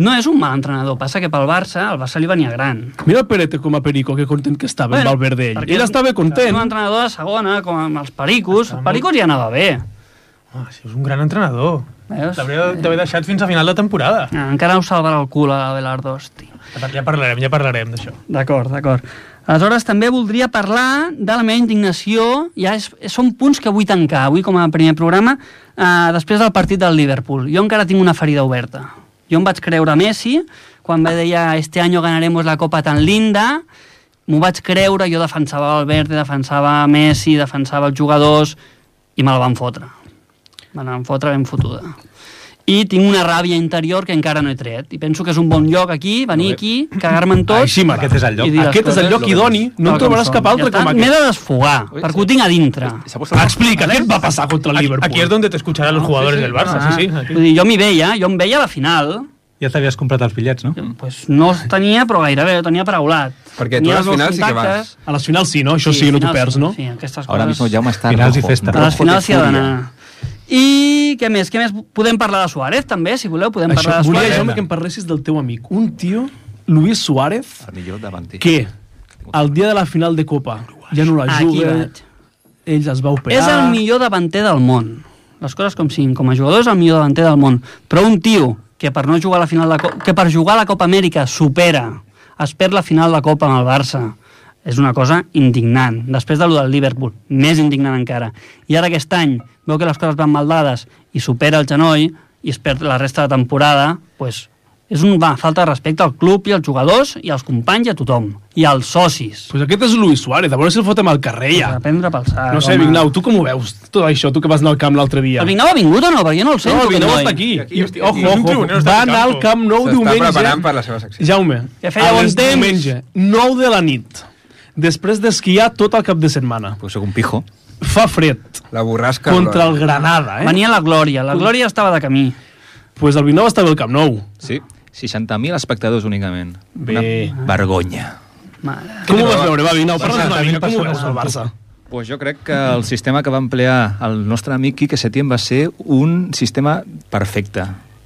C: No és un mal entrenador, passa que pel Barça, el Barça li venia gran.
B: Mira el Perete com a perico, que content que estava amb Valverde. Ell,
C: perquè
B: ell estava
C: És
B: content.
C: un entrenador de segona, com amb els pericos. Els pericos ja anava bé.
D: Ah, sí, és un gran entrenador.
B: Pues,
C: Veus?
D: T'hauria d'haver deixat fins a final de temporada.
C: Encara ho salvarà el cul a Belardo, hosti.
D: Ja parlarem, ja parlarem d'això.
C: D'acord, d'acord. Aleshores, també voldria parlar de la meva indignació. Ja és, són punts que vull tancar avui com a primer programa, eh, després del partit del Liverpool. Jo encara tinc una ferida oberta. Jo em vaig creure Messi, quan va deia este año ganaremos la copa tan linda, m'ho vaig creure, jo defensava Valverde, defensava Messi, defensava els jugadors, i me la van fotre. Me la van fotre ben fotuda. i tinc una ràbia interior que encara no he tret. I penso que és un bon lloc aquí, venir aquí, cagar-me en tot...
B: Així m'agrada.
E: Aquest és el lloc.
C: i dir les
B: Aquest és el
C: coses
B: lloc idoni, no
C: tal
B: en
C: com
B: trobaràs
C: són.
B: cap altre
C: ja està,
B: com
C: M'he
B: aquest.
C: de desfogar, perquè ho tinc a dintre.
F: Se ha puesto la-
B: Explica, què et va passar contra el Liverpool? Ah,
D: Aquí es donde te escucharán los jugadores del Barça, sí, sí. aquí.
C: Vull dir, jo m'hi veia, jo em veia a la final,
E: Ja t'havies comprat els bitllets, no?
C: pues no els tenia, però gairebé, ho tenia paraulat.
A: Perquè tu
C: Tenia
A: a les
C: els
A: finals
C: meus
A: sí que vas.
C: contactes.
B: A les finals sí, no? Això sí,
C: al
B: no t'ho
C: final
B: perds, no?
C: Sí, aquestes
F: Ahora
C: cosas.
F: mismo Jaume está
E: Finals y
F: rojo,
E: fiesta.
C: A les
F: rojo de
C: finals s'hi ha
F: furia.
C: d'anar.
A: eh?
C: I què més? Què més? Podem parlar de Suárez, també, si voleu. Podem
B: Això,
C: parlar de
B: volia
C: Suárez.
B: jo que em parlessis del teu amic. Un tio, Luis Suárez,
F: Fernillo davanter.
B: que el dia de la final de Copa ja no la
C: Aquí
B: juga,
C: vaig.
B: ell es va operar...
C: És el millor davanter del món. Les coses com siguin. Com a jugador és el millor davanter del món. Però un tio que per no jugar a la final de Co- que per jugar a la Copa Amèrica supera, es perd la final de Copa amb el Barça. És una cosa indignant. Després de lo del Liverpool, més indignant encara. I ara aquest any veu que les coses van mal dades i supera el genoll i es perd la resta de temporada, pues, és una falta de respecte al club i als jugadors i als companys i a tothom. I als socis.
B: Pues aquest és Luis Suárez, a veure si el fotem al carrer ja.
C: Per prendre pel sac.
B: No sé,
C: Ah, home.
B: Vignau, tu com ho veus, tot això, tu que vas anar al camp l'altre dia?
C: El Vignau ha vingut o no? Perquè jo no el sento.
B: No,
C: aquest
B: Vignau
C: noi.
B: està aquí.
A: Aquí,
B: I,
A: aquí,
B: ojo,
A: aquí.
D: Un
B: ojo,
D: tribunero està
B: va
D: al
B: anar al
D: campo.
B: Camp Nou
A: S'està
B: diumenge.
A: preparant per la seva secció.
B: Jaume,
C: Que feia
B: a
C: bon
B: les
C: temps.
B: diumenge, 9 de la nit, després d'esquiar tot el cap de setmana.
F: Pues soy un pijo.
B: Fa fred
A: La borrasca...
B: contra el
A: Roda.
B: Granada, eh?
C: Venia la Glòria. La Glòria estava de camí.
B: Pues el Vignau estava al Camp Nou.
I: Sí, 60.000 espectadors únicament.
B: Bé.
I: Una vergonya.
C: Mare.
B: Com ho vas veure, va, Vignau? Parla'ns una mica, com ho
E: persones
B: veus el Barça?
I: Pues jo crec que el sistema que va emplear el nostre amic Quique Setién va ser un sistema perfecte,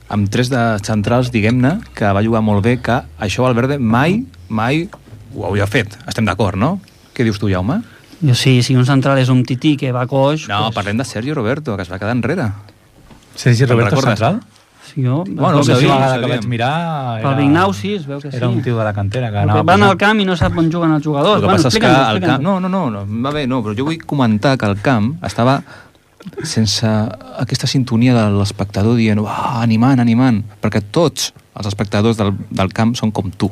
I: amb tres de centrals, diguem-ne, que va jugar molt bé, que això Valverde mai, mai ho hauria fet. Estem d'acord, no? Què dius tu, Jaume?
C: Jo sí, si un central és un tití que va coix...
I: No, parlem de Sergio Roberto, que es va quedar enrere.
E: Sergi
I: Te'n
E: Roberto
I: recordes?
E: Central?
C: Si jo,
I: Bueno,
C: es veu
I: ho
C: que
I: sabíem,
E: L'última
I: ho
E: vegada que
I: sabíem.
E: vaig mirar...
C: Pel Vignau sí, es veu que sí.
E: Era un tio de la cantera que
C: Perquè
E: anava...
C: Van al
E: posant-
C: camp i no sap on juguen els jugadors.
I: El que
C: bueno,
I: passa és que
C: explica'ns-ho,
I: el
C: explica'ns-ho.
I: camp... No, no, no, no, va bé, no, però jo vull comentar que el camp estava sense aquesta sintonia de l'espectador dient ah, animant, animant, perquè tots els espectadors del, del camp són com tu.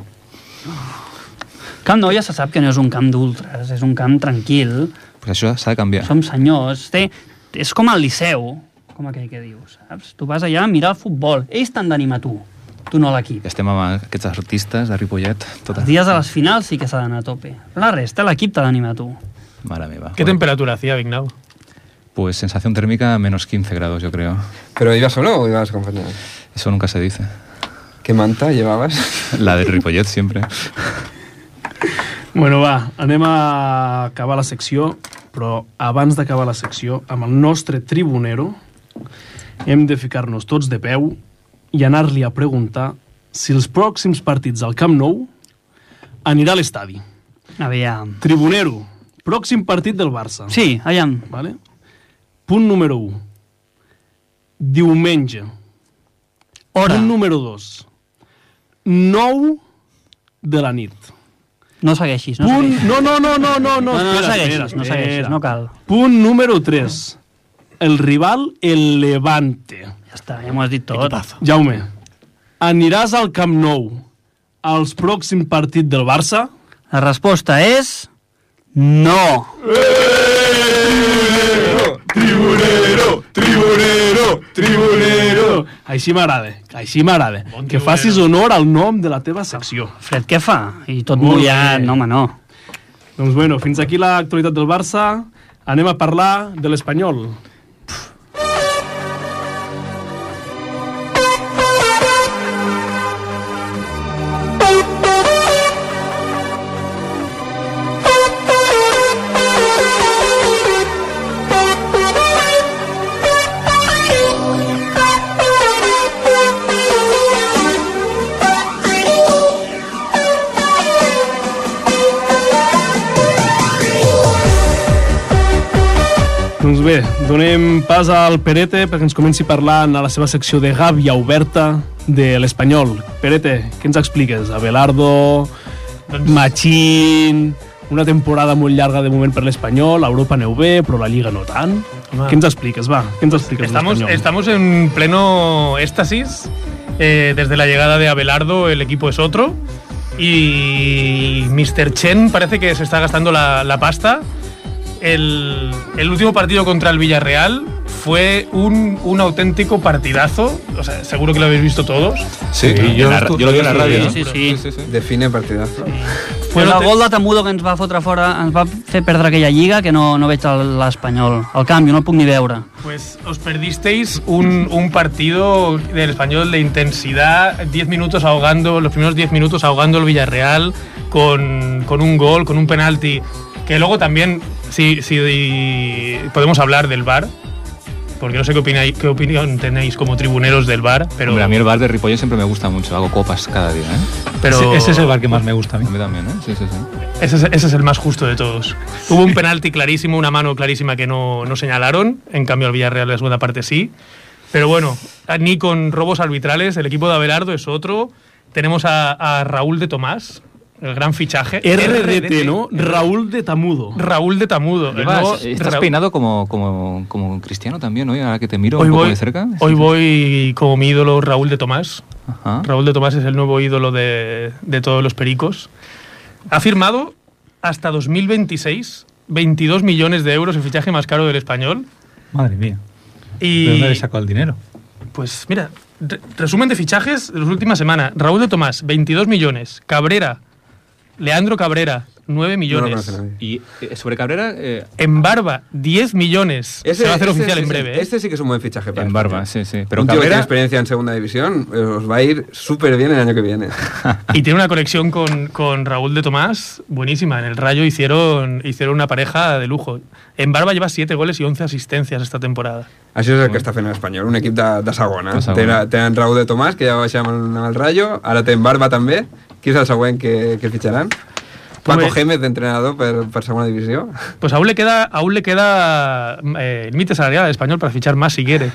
C: Camp Nou ja se sap que no és un camp d'ultres, és un camp tranquil,
I: Pues això s'ha de canviar.
C: som senyors, té, és com el Liceu, com aquell que diu, saps? Tu vas allà a mirar el futbol, ells t'han d'animar tu, tu no l'equip.
I: I estem amb aquests artistes de Ripollet. tota Tot
C: Els dies de les finals sí que s'ha d'anar a tope. La resta, l'equip t'ha d'animar tu.
I: Mare meva.
D: ¿Qué temperatura hacía Vignau?
I: Pues sensación térmica menos 15 grados, yo creo.
A: ¿Pero ibas solo o ibas acompañado?
I: Eso nunca se dice.
A: ¿Qué manta llevabas?
I: La de Ripollet siempre.
B: Bueno, va, anem a acabar la secció, però abans d'acabar la secció, amb el nostre tribunero, hem de ficar-nos tots de peu i anar-li a preguntar si els pròxims partits al Camp Nou anirà a l'estadi.
C: Aviam.
B: Tribunero, pròxim partit del Barça.
C: Sí, aviam.
B: Vale? Punt número 1. Diumenge.
C: Hora.
B: Punt número 2. 9 de la nit.
C: No segueixis, no
B: Punt...
C: segueixis.
B: No, no, no, no, no, no.
C: No, no, no
B: espera,
C: segueixis,
B: espera,
C: no segueixis,
B: espera.
C: no cal.
B: Punt número 3. El rival, el Levante.
C: Ja està, ja m'ho has dit tot.
B: Jaume, aniràs al Camp Nou als pròxim partit del Barça?
C: La resposta és... No!
B: Tribunero! Així m'agrada, així m'agrada.
D: Bon
B: que
D: tribunero.
B: facis honor al nom de la teva secció.
C: Fred, què fa? I tot
B: Molt
C: mullat,
B: bé.
C: no, home, no.
B: Doncs bueno, fins aquí l'actualitat del Barça. Anem a parlar de l'Espanyol. Doncs bé, donem pas al Perete perquè ens comenci parlant a la seva secció de gàbia oberta de l'Espanyol. Perete, què ens expliques? Abelardo,
D: Doncs-
B: Machín, una temporada molt llarga de moment per l'Espanyol, a Europa aneu bé, però la Lliga no tant.
D: Home.
B: Què ens expliques, va? Què ens expliques de
D: Estamos,
B: l'Espanyol?
D: estamos en pleno éxtasis. Eh, desde la llegada de Abelardo, el equipo es otro. Y Mr. Chen parece que se está gastando la, la pasta. El, el último partido contra el Villarreal fue un, un auténtico partidazo. O sea, seguro que lo habéis visto todos.
F: Sí,
I: Sí,
F: yo,
I: en la-
F: estu-
I: yo lo vi en la
F: sí,
I: radio,
F: sí,
C: no?
F: sí, sí, sí.
A: Define partidazo.
C: Però el gol de Tamudo que ens va fotre fora, ens va fer perdre aquella lliga que no, no veig el- l'Espanyol. El canvi, no el puc ni veure.
D: Pues os perdisteis un, un partido del español de intensidad, 10 minutos ahogando, los primeros 10 minutos ahogando el Villarreal con, con un gol, con un penalti, que luego también, si, si podemos hablar del VAR, porque no sé qué, opináis, qué opinión tenéis como tribuneros del VAR, pero...
F: Hombre, a mí el bar de Ripollet siempre me gusta mucho. Hago copas cada día, ¿eh?
D: pero
E: Ese, ese es el bar que más me gusta a mí.
F: A mí también, ¿eh? Sí, sí, sí.
D: Ese es, ese es el más justo de todos. Hubo un penalti clarísimo, una mano clarísima que no, no señalaron. En cambio, el Villarreal en la segunda parte sí. Pero bueno, ni con robos arbitrales. El equipo de Abelardo es otro. Tenemos a, a Raúl de Tomás, el gran fichaje.
B: RDT, ¿no?
D: eh.
B: Raúl de Tamudo.
D: Raúl de Tamudo. el
F: Llevas-
D: nuevo
F: estás
D: Raúl-
F: peinado como, como, como cristiano también hoy, ahora que te miro
D: Hoy
F: un poco
D: voy,
F: de cerca.
D: hoy voy como mi ídolo Raúl de Tomás.
F: Ajá.
D: Raúl de Tomás es el nuevo ídolo de, de todos los pericos. Ha firmado hasta 2026 22 millones de euros, el fichaje más caro del español.
E: Madre mía.
D: Y,
E: ¿De dónde le sacó el dinero?
D: Pues mira, re- resumen de fichajes de las últimas semanas. Raúl de Tomás, 22 millones. Cabrera, Leandro Cabrera, 9
A: No lo
D: millones.
A: conoce nadie.
F: Y eh, sobre Cabrera, eh,
D: en Barba, 10 millones. Se va a hacer oficial en breve. ¿eh?
A: Este sí que es un buen fichaje para
F: en
A: este
F: barba,
A: año.
F: sí, sí. Pero
A: un tío que tiene
F: Cabrera,
A: experiencia en segunda división eh, os va a ir súper bien el año que viene.
D: Y tiene una conexión con, con Raúl de Tomás buenísima. En el Rayo hicieron, hicieron una pareja de lujo. En Barba lleva 7 goles y 11 asistencias esta temporada.
A: Això és el que està fent l'Espanyol, un equip de, de segona.
F: De segona.
A: Tenen, tenen Raúl de Tomàs, que ja va baixar amb el Rayo, ara tenen Barba també. Qui és el següent que, que fitxaran? Paco
D: Home.
A: Gémez, d'entrenador per, per segona divisió.
D: Pues aún le queda, aún le queda eh, límite salarial al español para fichar más si quiere.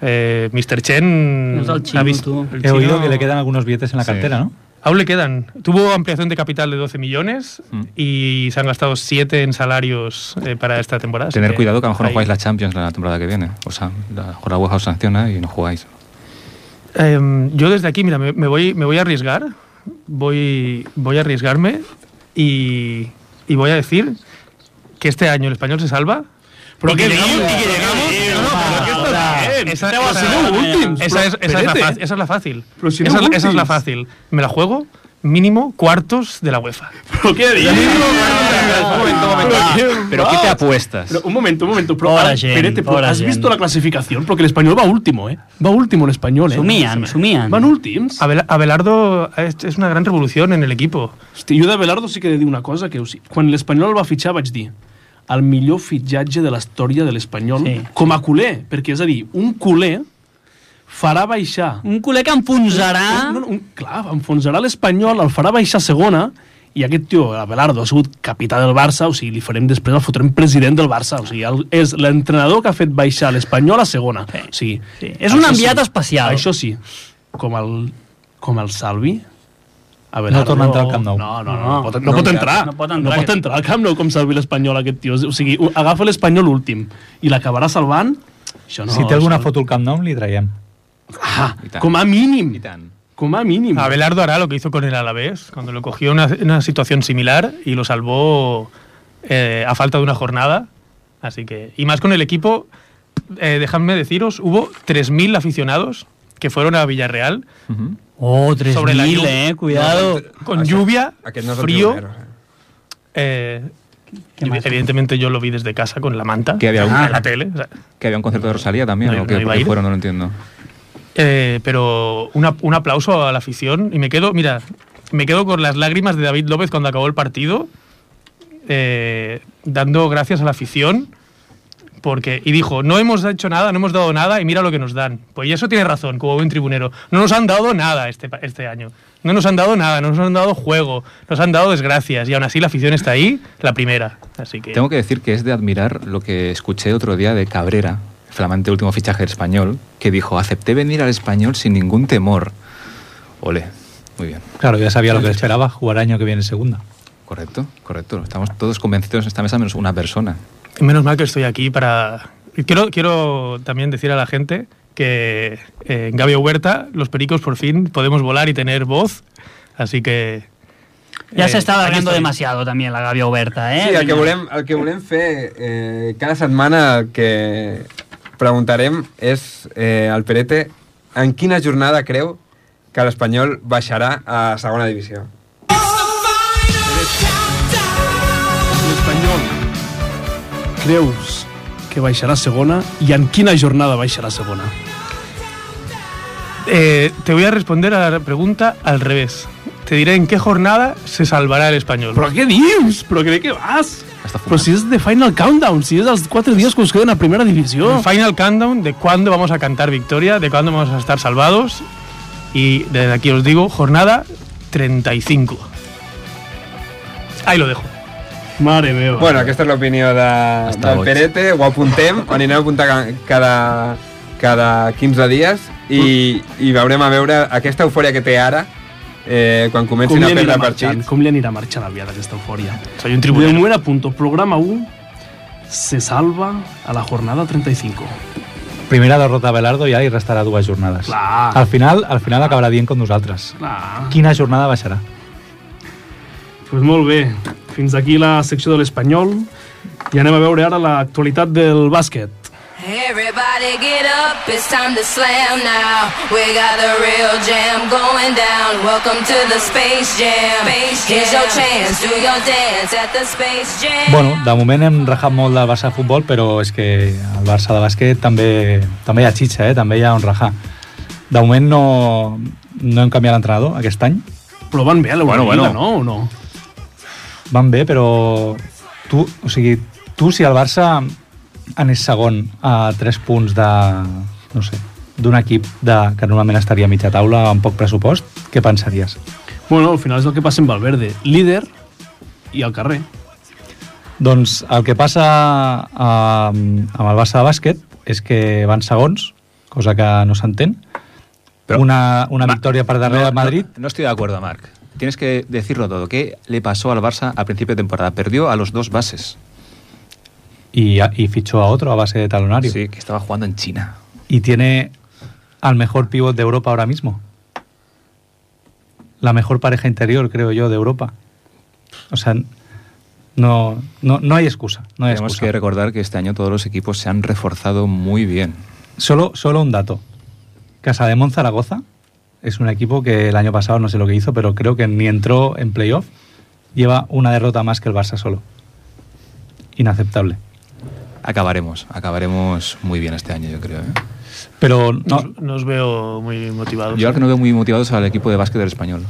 D: Eh, Mr. Chen.
C: Es el chino,
D: ha visto-
C: tú.
D: el
E: He oído
D: chino-
E: que le quedan algunos billetes en la
F: Sí.
E: cartera, ¿no?
D: Aún le quedan. Tuvo ampliación de capital de 12 millones
F: Mm.
D: y se han gastado 7 en salarios eh, para esta temporada. así
F: tener cuidado que a lo mejor no
D: ahí.
F: jugáis la Champions la temporada que viene. O sea, la, a lo mejor la UEFA os sanciona y no jugáis.
D: Em, yo desde aquí, mira, me, me voy, me voy a arriesgar. Voy, voy a arriesgarme y, y voy a decir que este año el español se salva.
B: Però
D: Y
B: què
D: llegamos-
B: dius?
D: y que llegamos-
B: Què
D: No, no,
B: dius?
D: pero que esto
B: Hola.
D: también. Esa-
B: Esteu a
D: esa-
B: ser últims,
D: esa es-
B: però
D: esa es la
B: espérate.
D: fácil, esa es la fácil.
B: Pero si
D: Esa
B: no
D: es la- esa es la
B: últims.
D: fácil. Me la juego mínimo cuartos de la UEFA.
B: Però què
A: Un
B: dius?
A: moment, un moment.
F: Pero ¿qué te apuestas?
B: Pero un momento, un momento. Pero,
C: Pobre
B: ahora,
C: gent,
B: espérate, pero
C: pobre
B: ¿has
C: gent.
B: visto la clasificación? Porque el español va último, ¿eh? Va último el español, ¿eh?
C: Somien, somien.
B: Van últims.
D: Abel- Abelardo ha hecho- es una gran revolución en el equipo.
B: Hosti, jo de Belardo sí que he de dir una cosa, que o sigui, quan l'Espanyol el va fitxar vaig dir el millor fitxatge de la història de l'Espanyol sí.
C: Sí.
B: com a culer, perquè és a dir, un culer farà baixar...
C: Un culer que enfonsarà...
B: Un, un, un, clar, enfonsarà l'Espanyol, el farà baixar a segona, i aquest tio, el Belardo, ha sigut capità del Barça, o sigui, li farem després, el fotrem president del Barça, o sigui, el, és l'entrenador que ha fet baixar l'Espanyol a segona. Sí. O sigui,
C: Sí. És un
B: això
C: enviat
B: sí,
C: especial.
B: Això sí, com el, com el Salvi, a
E: No torna a entrar al Camp Nou.
B: No, no, no, no, pot, no,
A: No,
B: pot
A: cap.
B: entrar.
C: No pot entrar,
B: No pot
C: aquest-
B: entrar al Camp Nou com salvi l'Espanyol, aquest tio. O sigui, ho- agafa l'Espanyol últim i l'acabarà salvant. Això no,
E: si té alguna
B: això-
E: foto al Camp Nou, li traiem.
B: Ah,
F: I tant.
B: com a mínim.
F: Y tan.
B: Com a mínim.
D: Abelardo hará lo que hizo con el Alavés, cuando lo cogió en una, en una situación similar y lo salvó eh, a falta de una jornada. Así que, y más con el equipo, eh, dejadme deciros, hubo 3.000 aficionados que fueron a Villarreal
F: Ujú.
C: Oh,
D: Sobre la
C: 3.000,
D: llum.
C: eh? Cuidado.
D: con lluvia,
A: Aquest no és el
D: frío.
A: pionero, eh?
D: eh, evidentemente yo lo vi desde casa con la manta,
F: Que había
D: en
F: un-
D: la tele. o sea,
F: Que había un concierto de Rosalía también,
D: No,
F: o que,
D: no iba a
F: que
D: ir.
F: fueron, no lo entiendo.
D: Eh, pero una- un aplauso a la afición. Y me quedo, mira, me quedo con las lágrimas de David López cuando acabó el partido, eh, dando gracias a la afición. Porque, y dijo, no hemos hecho nada, no hemos dado nada y mira lo que nos dan. Pues y eso tiene razón, como buen tribunero. No nos han dado nada este, pa- este año. No nos han dado nada, no nos han dado juego, nos han dado desgracias. Y aún así la afición está ahí, la primera. Así que...
F: Tengo que decir que es de admirar lo que escuché otro día de Cabrera, el flamante último fichaje del español, que dijo, acepté venir al español sin ningún temor. Ole, muy bien.
E: Claro, ya sabía lo que le esperaba, jugar año que viene en segunda.
F: Correcto, correcto. Estamos todos convencidos en esta mesa menos una persona.
D: Y Menos mal que estoy aquí para... y Quiero, quiero también decir a la gente que eh, en Gabi Huerta, los pericos por fin podemos volar y tener voz. Así que...
C: Ya se
D: eh,
C: está
D: aquí
C: alargando
D: estoy.
C: demasiado también la gavia oberta, eh?
A: Sí, el que
C: Vinga.
A: volem, el que volem fer eh, cada setmana el que, preguntarem és eh, al Perete en quina jornada creu que l'Espanyol baixarà a segona divisió.
B: L'Espanyol. Creus que baixarà a segona i en quina jornada baixarà a segona?
D: Eh, te voy a responder a la pregunta al revés. Te diré en qué jornada se salvará el español.
B: Però què dius? Però crec que vas. Però si és de Final Countdown, si és els quatre dies que us queden a primera divisió.
D: El final countdown de cuándo vamos a cantar victoria, de cuándo vamos a estar salvados. Y desde aquí os digo, jornada 35. Ahí lo dejo.
B: Mare meva.
A: Bueno, aquesta és l'opinió de, del
F: boig.
A: Perete, ho apuntem, ho anirem a apuntar ca- cada, cada 15 dies i, i veurem a veure aquesta eufòria que té ara eh, quan
B: com
A: comencin
B: li
A: a
B: anirà
A: perdre
B: marxant,
A: partits.
B: com li anirà marxant aviat aquesta eufòria.
D: Soy un
B: De
D: tribunero.
B: moment a punto, programa 1 se salva a la jornada 35.
E: Primera derrota a Belardo ja hi restarà dues jornades.
B: Clar.
E: Al final, al final acabarà dient com nosaltres.
B: Clar.
E: Quina jornada baixarà?
B: Ah, Pues molt bé, fins aquí la secció de l'Espanyol i anem a veure ara l'actualitat del bàsquet.
J: Everybody get up, it's time to slam now. We got a real jam going down. Welcome to the Space Jam. Here's your chance, do your dance at the Space Jam.
E: Bueno, de moment hem rajat molt del Barça de futbol, però és que el Barça de bàsquet també, també hi ha xitxa, eh? també hi ha on rajar. De moment no, no hem canviat l'entrenador aquest any.
B: Però van bé a l'Eurolliga,
F: Bueno,
B: bueno,
F: bueno.
B: no? O no?
E: Van bé, però tu, o sigui, tu si el Barça anés segon a 3 punts de, no sé, d'un equip de, que normalment estaria a mitja taula amb poc pressupost, què pensaries?
B: Bueno, al final és el que passa amb Valverde. Líder i al carrer.
E: Doncs el que passa eh, amb el Barça de bàsquet és que van segons, cosa que no s'entén.
F: Però-
E: Una, una
F: Ma-
E: victòria per darrere de Madrid.
F: No, no estoy de acuerdo, Marc. Tienes que decirlo todo. ¿Qué le pasó al Barça al principio de temporada? Perdió a los dos bases.
E: Y, y fichó a otro a base de talonario.
F: Sí, que estaba jugando en China.
E: Y tiene al mejor pívot de Europa ahora mismo. La mejor pareja interior, creo yo, de Europa. O sea, no, no, no hay excusa. No hay
F: Tenemos
E: excusa.
F: que recordar que este año todos los equipos se han reforzado muy bien.
E: Solo, solo un dato. Casa de Zaragoza es un equipo que el año pasado no sé lo que hizo, pero creo que ni entró en playoff. Lleva una derrota más que el Barça solo. Inaceptable.
F: Acabaremos, acabaremos muy bien este año, yo creo. ¿eh?
E: Pero
D: No,
E: no,
D: no os veo muy motivados.
F: Yo al que no veo muy motivados al equipo de básquet del español.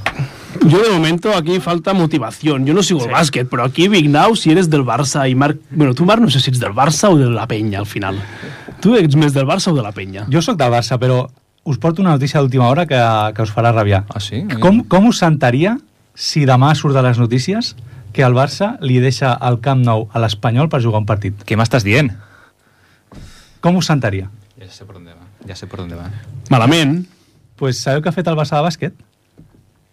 B: Yo de momento aquí falta motivación. Yo no sigo el básquet, pero aquí Big Now si eres del Barça i Marc... Bueno, tu Marc no sé si ets del Barça o de la penya al final. Tu ets més del Barça o de la penya?
E: Jo sóc del Barça, però us porto una notícia d'última hora que, que us farà rabiar.
F: Ah, sí?
E: Com, com us sentaria si demà surt de les notícies que el Barça li deixa el Camp Nou a l'Espanyol per jugar un partit?
F: ¿Qué más estás bien?
E: Com us sentaria?
F: Ya sé por dónde va. Ya sé por dónde va.
B: Malament.
E: pues sabeu què ha fet el Barça de bàsquet?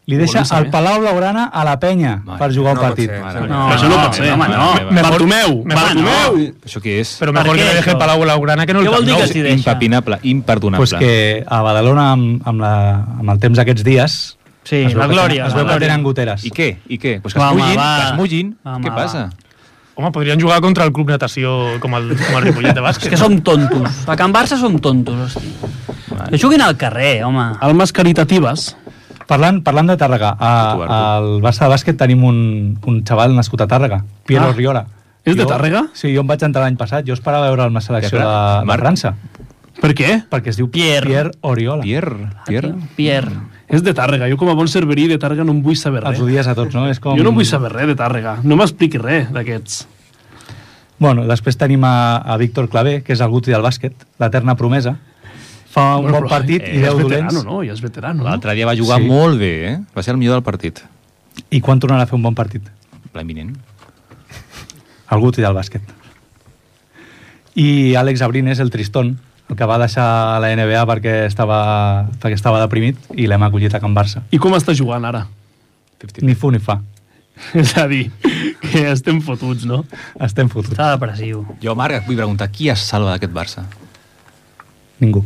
E: Li deixa
B: Volem saber.
E: el Palau Blaugrana a la penya
F: Mare,
E: per jugar un
A: no pot
E: partit.
A: ser.
B: No, això no, pot ser, home, no. Bartomeu, Bartomeu.
F: ¿Eso qué es?
D: Pero mejor
C: ¿Para
D: que
C: qué
D: le deje
C: eso?
D: el Palau Blaugrana que no
C: Què
D: el
C: vol dir
D: Camp
C: que
D: Nou.
C: sí? decideix,
F: Impapinable, imperdonable.
E: pues que a Badalona, amb, amb, la, amb el temps aquests dies...
C: Sí,
E: es veu
C: la
E: que
C: glòria,
E: tenen- Es
C: la
E: veu que
C: glòria.
E: tenen goteres.
F: ¿Y qué? ¿Y qué? Pues que
C: Va,
F: es
C: home,
F: Mullin,
C: va.
F: que es Mullin.
C: Va,
F: ¿Qué
C: home,
F: pasa?
D: Home, podrían jugar contra el Club Natació com el, com el Ripollet de
C: És
D: bàsquet.
C: que som tontos. A Can Barça som tontos, hosti. Que juguin al carrer, home.
B: Almes caritatives.
E: Parlant, parlant de Tàrrega, a,
F: Tu, Artur.
E: al Barça de bàsquet tenim un, un xaval nascut a Tàrrega, Piero
B: Ah.
E: ah. Riola.
B: És de
E: Jo-
B: Tàrrega?
E: Sí, jo em vaig entrar l'any passat, jo esperava veure amb la selecció
F: Què,
E: de,
F: Fra-
E: de
F: Marc?
E: França,
B: Per què?
E: perquè es diu
C: Pierre.
E: Pierre Oriola.
F: Pierre, Pierre.
C: Pierre.
B: És de Tàrrega. Jo com a bon cerverí de Tàrrega no en vull saber
E: Els
B: res.
E: odies a tots, no? És com...
B: eh? Jo no vull saber res de Tàrrega. No m'expliqui res d'aquests.
E: Bueno, després tenim a, a Víctor Clavé, que és el guti del bàsquet, l'eterna promesa. Fa un
B: Bueno,
E: bon
B: però,
E: partit
B: eh,
E: i
B: ja
E: 10
B: és
E: dolents.
B: veterano, no? Ja és veterano, no?
F: L'altre dia va jugar
E: Sí.
F: molt bé, eh? Va ser el millor del partit.
E: I quan tornarà a fer un bon partit?
F: L'any vinent.
E: El guti del bàsquet. I Àlex Abrin és el tristón, el que va deixar la NBA perquè estava, perquè estava deprimit i l'hem acollit a Can Barça.
B: I com està jugant ara?
E: Ni fu ni fa.
B: És a dir, que estem fotuts, no?
E: Estem fotuts.
C: Està depressiu.
F: Jo, Marc, et vull preguntar, qui es salva d'aquest Barça?
E: Ningú.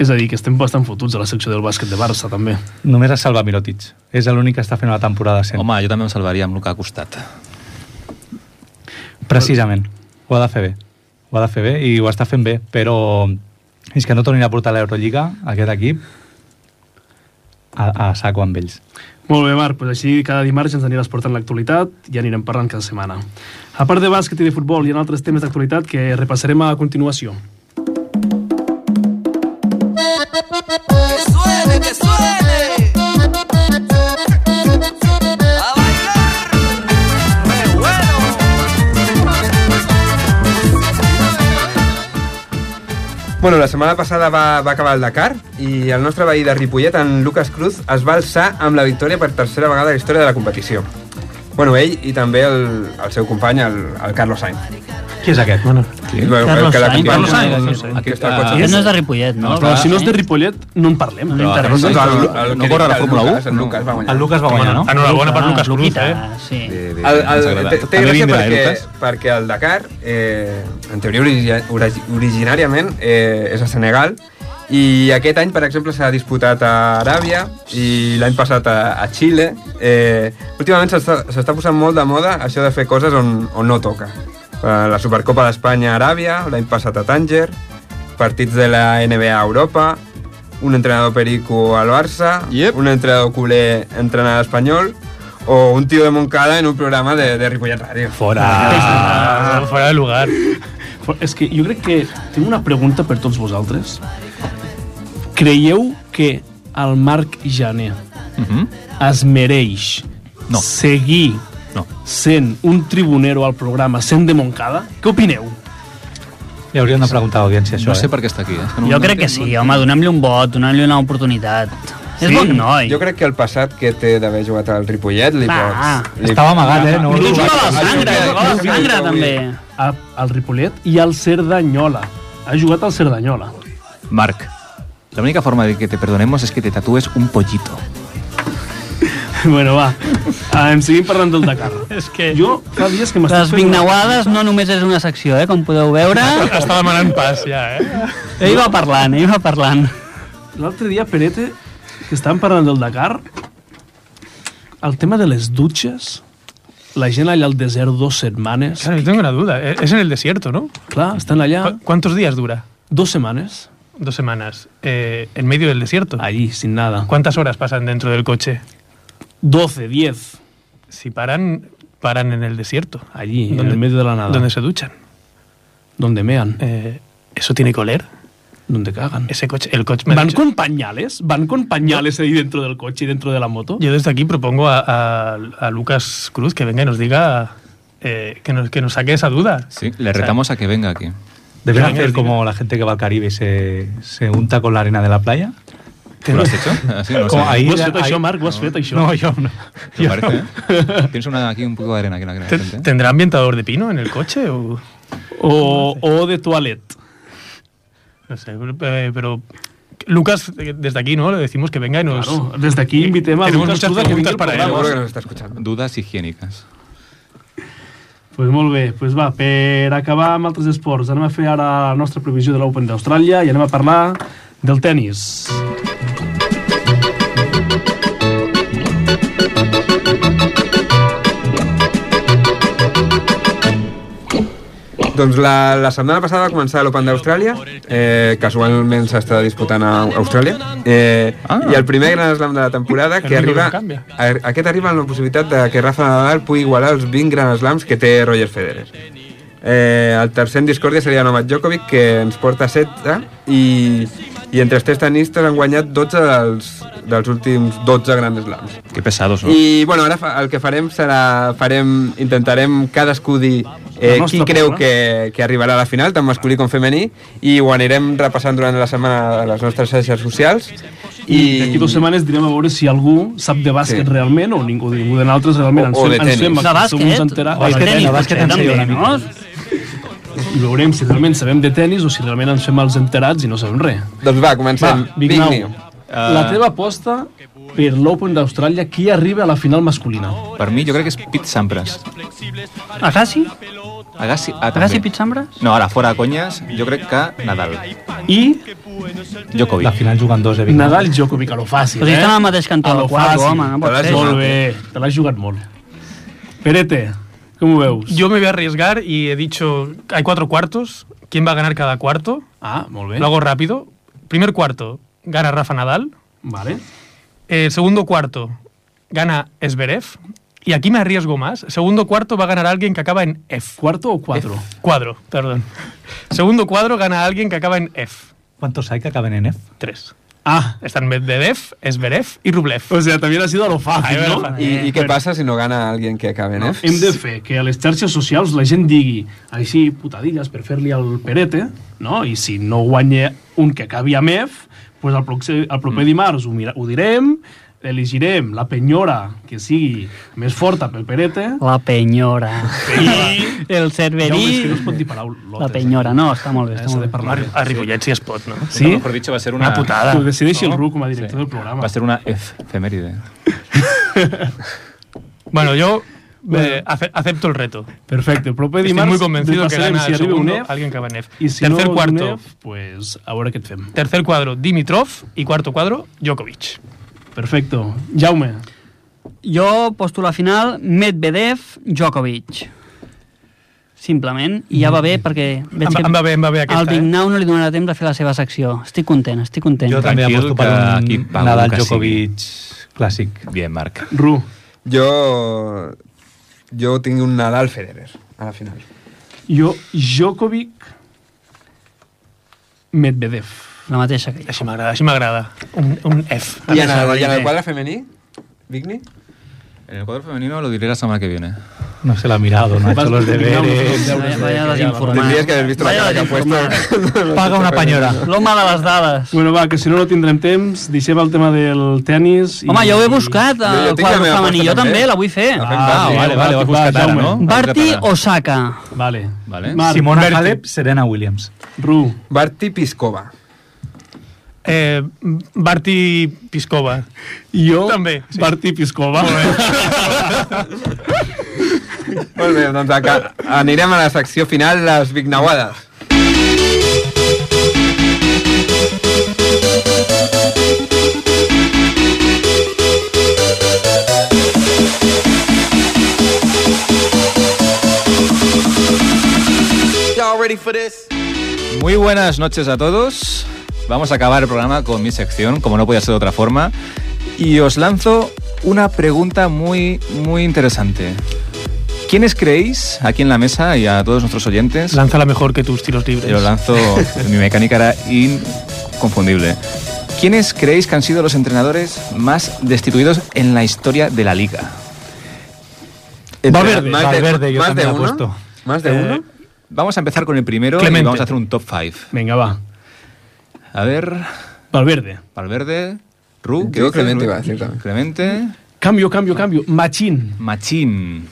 B: És a dir, que estem bastant fotuts a la secció del bàsquet de Barça, també.
E: Només es salva Mirotic. És l'únic que està fent una temporada
F: Sí.
E: sent.
F: Home, jo també em salvaria amb el que ha costat.
E: Precisament. Ho ha de fer bé. ho ha de fer bé i ho està fent bé, però fins que no tornin a portar a l'Eurolliga aquest equip a, a saco amb ells.
B: Molt bé, Marc, doncs així cada dimarts ens aniràs portant l'actualitat i anirem parlant cada setmana. A part de bàsquet i de futbol, hi ha altres temes d'actualitat que repassarem a continuació.
G: Que suene, que suene. A bailar. Qué
A: Bueno, la setmana passada va, va acabar el Dakar i el nostre veí de Ripollet, en Lucas Cruz, es va alçar amb la victòria per tercera vegada a la història de la competició. Bueno, ell i també el, el seu company, el, el Carlos Sainz.
E: Qui és aquest? Bueno,
A: El- el- el
C: Carlos
A: que
C: Sainz,
A: l'acompanya,
C: Carlos Sainz,
A: el- el-
C: sí, sí.
A: el que està al
F: Aquest,
A: cotxe.
C: Aquest no és de Ripollet, no? Eh?
B: Però si no és de Ripollet, no en parlem.
C: No
A: Ah,
C: interessa.
A: doncs el- el- el-
F: No
A: que
F: corre la
A: el
F: Fórmula
A: Lucas,
F: 1?
A: El Lucas va guanyar.
E: el Lucas va guanyar, no?
D: Enhorabona per Lucas Cruz,
C: Luquita,
D: eh?
C: sí.
F: De, de,
A: El,
F: ens ha
A: el, té,
F: agradat.
A: té
F: A mi
A: gràcia
F: vindrà, eh,
A: perquè,
F: Lucas?
A: perquè el Dakar, eh, en teoria origi- origi- originàriament, eh, és a Senegal, i aquest any, per exemple, s'ha disputat a Aràbia i l'any passat a, a Xile. Eh, últimament s'està s'està posant molt de moda això de fer coses on, on no toca. Eh, La Supercopa d'Espanya a Aràbia, l'any passat a Tànger, partits de la NBA a Europa, un entrenador perico al Barça,
F: Yep.
A: un entrenador culer entrenador espanyol, o un tío de Moncada en un programa de, de Ripollet Radio.
E: Fora!
D: Ah, fora de lugar.
B: Però és que jo crec que tinc una pregunta per tots vosaltres. Creieu que el Marc Jané
F: Mhm.
B: es mereix
F: No.
B: seguir
F: No.
B: sent un tribunero al programa, sent de Montcada? Què opineu?
E: Li hauríem de preguntar a l'audiència això,
F: No sé
E: eh?
F: per què està aquí. Em És que no,
C: Jo
F: no
C: crec que sí, home, donem-li un vot, donem-li una oportunitat. És bon noi.
A: Jo crec que el passat que té d'haver jugat al Ripollet li
C: Va.
A: pots... Li...
E: Estava amagat, eh? No,
C: Li
E: no,
C: juga a la
A: Ah,
C: sangre,
A: sí,
C: juga a la
A: sí,
C: sangre,
A: sí,
C: també.
B: A, al Ripollet i al Cerdanyola. Ha jugat al Cerdanyola.
F: Marc, la única forma de que te perdonemos es que te tatúes un pollito.
B: bueno, va, Ah, em seguim parlant del Dakar. és que... Jo fa dies que m'estic
C: Les vignauades no només és una secció, eh, com podeu veure.
D: Està demanant pas, ja, eh?
C: Ell va parlant, ell va parlant.
B: L'altre dia, Perete, que estàvem parlant del Dakar, el tema de les dutxes, la gent allà al desert dues setmanes,
D: Claro, yo tengo una duda.
B: E-,
D: Eh, Es en el desierto, ¿no?
B: clar, estan allà
D: ¿Cu- ¿Cuántos días dura?
B: dues setmanes,
D: Dos semanas. Eh, en medio del desierto.
B: allí, sin nada.
D: ¿Cuántas horas pasan dentro del coche?
B: 12, 10,
D: Si paran, paran en el desierto.
B: allí, en
D: ¿Dónde-
B: el medio de la nada.
D: Donde se duchan.
B: Donde mean,
D: Eh, ¿Eso tiene que oler?
B: donde cagan.
D: Ese coche, el coche... me ha
B: Van
D: dicho-
B: con pañales, van con pañales ahí dentro del coche y dentro de la moto.
D: Yo desde aquí propongo a, a- a Lucas Cruz que venga y nos diga... eh, que, nos, que nos saque esa duda.
F: Sí, le retamos a que venga aquí.
E: Debería
D: Yo
E: hacer
D: digo-
E: como la gente que va al Caribe y se, se unta con la arena de la playa.
F: ¿Tú lo has hecho? Así, no lo
E: Como
F: sé.
E: ahí-
B: Ho has
E: ahí-
B: fet això, Marc, ho has fet això.
E: No, yo no.
F: Me parece, ¿eh? Tienes una, aquí un poco de arena aquí en la cara de
D: Te-
F: la gente.
D: ¿Tendrá ambientador de pino en el coche o...?
B: O, o de toilet.
D: No sé, eh, pero... Lucas, eh, desde aquí, ¿no? Le decimos que venga y nos...
B: Claro, desde aquí invitem a
D: Tenemos
B: Lucas
D: muchas
B: Tuda que vingui
D: preguntas
B: al
D: para él.
B: programa.
A: Seguro que nos está escuchando.
F: Dudas higiénicas.
B: Pues molt bé, pues va, per acabar amb altres esports, anem a fer ara la nostra previsió de l'Open d'Austràlia i anem a parlar del tennis.
A: Doncs la, la setmana passada va començar l'Open d'Austràlia, eh, casualment s'està disputant a Austràlia, eh,
F: Ah.
A: i el primer gran slam de la temporada que
D: El micro
A: arriba...
D: no canvia.
A: A, aquest arriba amb la possibilitat de que Rafa Nadal pugui igualar els 20 grans slams que té Roger Federer. Eh, el tercer en discòrdia seria Novak Djokovic, que ens porta 16, i, i entre els tres tenistes han guanyat 12 dels, dels últims 12 grans slams.
F: Qué
B: Ah.
F: pesados, ¿no?
A: I, bueno, ara fa, el que farem serà... Farem, intentarem cadascú dir eh,
B: La nostra
A: qui creu
B: porra.
A: que, que arribarà a la final, tant masculí com femení, i ho anirem repassant durant la setmana a les nostres xarxes socials.
B: I d'aquí dues setmanes direm a veure si algú sap de bàsquet
A: Sí.
B: sí. realment o ningú, ningú de nosaltres
A: O-
B: realment.
A: o de tenis.
B: fem,
C: De
B: segur ens
C: bàsquet,
B: entera-
C: o de
B: bàsquet,
C: tenis,
B: no,
C: potser,
B: bàsquet ens
C: també,
B: feia una
C: no?
B: mica. I veurem si realment sabem de tenis o si realment ens fem els enterats i no sabem res.
A: Doncs va,
B: Va,
A: comencem.
B: Big Now,
A: New.
B: la teva aposta per l'Open d'Austràlia, qui arriba a la final masculina?
F: Per mi, jo crec que és Pete Sampras.
C: Agassi?
F: Agassi, ah, també.
C: Agassi Pizzambra?
F: No, ara, fora de conyes, jo crec que Nadal.
B: I
F: Djokovic.
E: La final juguen dos, eh? Vic?
B: Nadal i Djokovic, a lo fàcil,
C: Però si
B: eh?
C: estan al mateix cantó,
B: A lo
C: quatre,
B: fàcil.
C: home, no pot
A: Te l'has
C: ser.
A: jugat.
B: Molt bé, te l'has jugat molt. Perete, ¿Cómo veus?
D: Yo me voy a arriesgar y he dicho, hay cuatro cuartos, ¿quién va a ganar cada cuarto?
B: Ah, molt bé.
D: Lo hago rápido. Primer cuarto, gana Rafa Nadal.
B: Vale.
D: Eh, segundo cuarto, gana Esberev. Y aquí me arriesgo más. Segundo cuarto va a ganar alguien que acaba en F.
B: ¿Cuarto o cuatro?
D: F. Cuadro, perdón. Segundo cuadro gana alguien que acaba en F.
E: ¿Cuántos hay que acaben en F?
D: Tres.
B: Ah,
D: Están Medvedev, Esberev y Rublev.
B: o sea, también ha sido a lo
D: A
B: fàcil,
D: veure,
B: no?
D: fa-
A: I, I què passa si no gana alguien que acabe en F?
B: Eh, Hem de fer que a les xarxes socials la gent digui així putadilles per fer-li el perete, no? I si no guanya un que acabi amb F, pues el, proxe, el proper dimarts ho, mira, ho direm, elegirem la penyora que sigui més forta pel perete
C: La penyora.
B: i...
C: El
B: Ja ho veus
C: cerverí.
B: que no es pot dir paraulotes.
C: La penyora, no, està molt bé. Està
B: s'ha
C: molt
B: eh? de
C: bé.
B: parlar bé.
D: A Ripollet si es pot, ¿no?
B: Sí?
F: No, mejor dicho, va a ser una,
D: Una putada.
B: Que ho decideixi el Ru com a director del programa.
F: Va a ser una F efeméride.
D: Bueno, yo eh, ace- acepto el reto.
B: Perfecte, el proper
D: Estoy
B: dimarts...
D: muy convencido que
B: desplaçarem,
D: gana
B: si
D: el
B: arriba un
D: segundo,
B: F,
D: alguien que va en F.
B: I si
D: Tercer
B: no,
D: cuarto,
B: un F, pues, a veure què et fem.
D: tercer cuadro Dimitrov y cuarto cuadro Djokovic.
B: Perfecte. Jaume,
C: Jo posto la final Medvedev Djokovic. Simplement, i ja va bé perquè veig
D: Em,
C: que
D: em va bé, em va bé
C: al
D: aquesta. Eh?
C: Vignau no li donarà temps de fer la seva secció. Estic content, estic content.
E: Jo també
F: Tranquil,
E: aposto per
F: que
E: un
F: aquí pago
E: Nadal
F: que
E: Djokovic clàssic.
F: Bien, Marc.
B: Ru,
A: Jo... Jo tinc un Nadal Federer a la final.
B: jo, Djokovic, Medvedev.
C: La mateixa que jo.
B: Ah.
D: Així m'agrada, així m'agrada. Un, un F.
A: I en el, i en el quadre femení? Vigni?
F: En el cuadro femenino lo diré la semana que viene.
E: No se l'ha mirado, no ha hecho los deberes.
C: Vaya, vaya
A: Tendries que
C: desinformat.
A: haver vist la
C: Vaya
A: cara que ha puesto.
E: Paga una penyora.
C: L'home de les dades.
B: Bueno, va, que si no no tindrem temps, deixem el tema del tennis.
C: Home, jo ho he buscat, eh,
A: Jo- jo
C: el
A: tinc la
C: quadre
A: meva
C: femení.
A: aposta
C: Jo també
A: també.
C: la vull fer.
A: La fem
E: Ah,
A: fàcil.
E: vale, vale, vas buscar ara,
B: Jaume.
E: no?
C: Barty Osaka.
B: Vale.
F: Vale.
B: Marc,
E: Simona Halep, Serena Williams.
B: Ru,
A: Barty Piskova.
D: Eh, Barty Piscova.
B: jo,
D: També, sí.
B: Martí Piscova.
A: Molt bé, Pues, eh, doncs acá, anirem a la secció final, les Vignauades.
F: Muy buenas noches a todos. Vamos a acabar el programa con mi sección, como no podía ser de otra forma. Y os lanzo una pregunta muy, muy interesante. ¿Quiénes creéis aquí en la mesa y a todos nuestros oyentes?
D: Lanza la mejor que tus tiros libres.
F: Yo lanzo, mi mecánica era inconfundible. ¿Quiénes creéis que han sido los entrenadores más destituidos en la historia de la liga?
E: Valverde, Valverde, yo
A: más
E: también
A: de uno?
E: apuesto.
A: ¿Más de
B: Eh,
A: uno?
F: Vamos a empezar con el primero
D: Clemente.
F: y vamos a hacer un top 5.
B: Vinga, va.
F: A ver,
B: Valverde.
F: Valverde, Ru, ¿qué
A: Yo
F: dices,
A: Clemente
F: Ru?
A: iba a decir también.
F: Clemente,
B: Canvio, canvio, canvio. Machín.
F: Machín,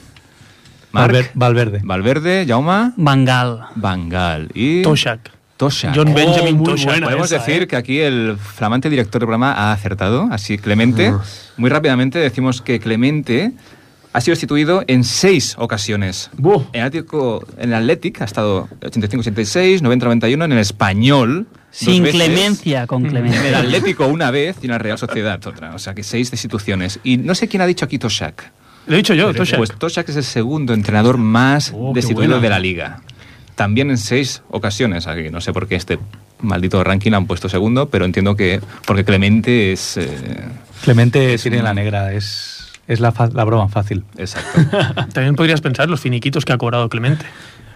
F: Marc,
E: Valver- Valverde.
F: Valverde, Jauma,
C: Bangal.
F: Bangal y
D: Toshak.
F: Toshak. Oh,
D: John Benjamin
B: Oh,
D: ¿eh?
B: muy
D: Toshak.
B: buena eh.
F: Podemos decir que aquí el flamante director del programa ha acertado. Así, Clemente, muy rápidamente decimos que Clemente ha sido sustituido en seis ocasiones.
B: Buh.
F: En el, Atlético, en el Athletic ha estado 85-86, 90-91, en el Español. dos
C: Sin
F: veces,
C: clemencia, con
F: En el
C: clemencia.
F: Atlético una vez y en la Real Sociedad otra. O sea que seis destituciones. Y no sé quién ha dicho aquí Toshak.
D: Lo he dicho yo, Toshak.
F: Pues Toshak es el segundo entrenador más
B: Oh, qué
F: destituido
B: buena.
F: de la liga. También en seis ocasiones. Aquí no sé por qué este maldito ranking han puesto segundo, pero entiendo que porque Clemente es. eh,
E: Clemente tiene la negra, es, es la, fa- la broma fácil.
F: exacto.
D: También podrías pensar los finiquitos que ha cobrado Clemente.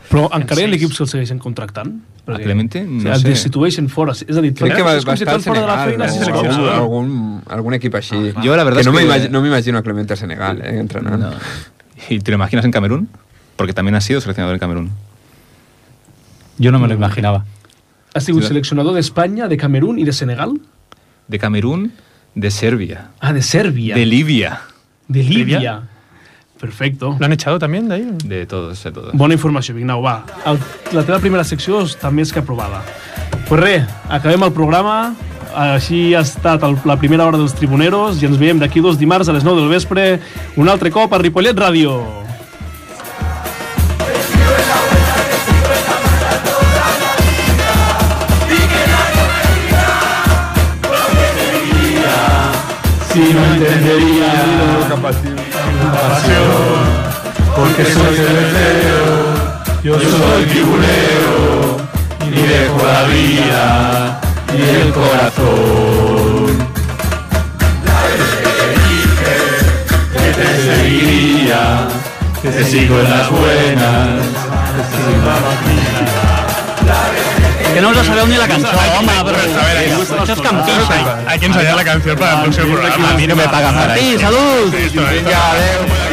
B: Però encara hi ha equips que el segueixen contractant?
F: A Clemente,
B: o sigui,
F: no
B: el
F: sé.
B: destitueixen fora. És a dir,
A: Crec que va,
B: és
A: va
B: com si
A: estar al
B: te'n fora de la
A: Senegal,
B: feina
A: o
B: si
D: no?
B: seleccionador.
A: algun, algun, algun equip així.
F: Ah, Yo la verdad
A: que no
F: es que-
A: m'imagi- no m'imagino a Clemente al Senegal, eh, entrenant.
F: No. ¿Y te lo imaginas en Camerún? Porque también ha sido seleccionador en Camerún.
E: Yo no me lo imaginaba.
B: Ha sigut seleccionador d'Espanya, de Camerún i de Senegal?
F: De Camerún, de Serbia,
B: Ah, de Sèrbia.
F: de Libia,
B: de Líbia.
D: Líbia.
B: Perfecto.
D: ¿Lo han echado también de ahí?
F: de todos, de todos.
B: Bona informació, Vignau, va. El, la teva primera secció és- també és que aprovada. Pues res, acabem el programa. Així ha estat el, la primera hora dels Tribuneros i ens veiem d'aquí dos dimarts a les 9 del vespre un altre cop a Ripollet Ràdio. Si no entendería
K: porque soy cervecero, yo soy tiburero y dejo la vida y el corazón. La vez que te dije que te seguiría, que te sigo en las buenas, te sigo en las
C: Que no us la sabeu ni la cançó, home, però... Això és campista.
F: Hay que ensayar la canción para el próximo programa.
L: A mí no me pagan para
C: Martí, salut!
F: Venga, adeu.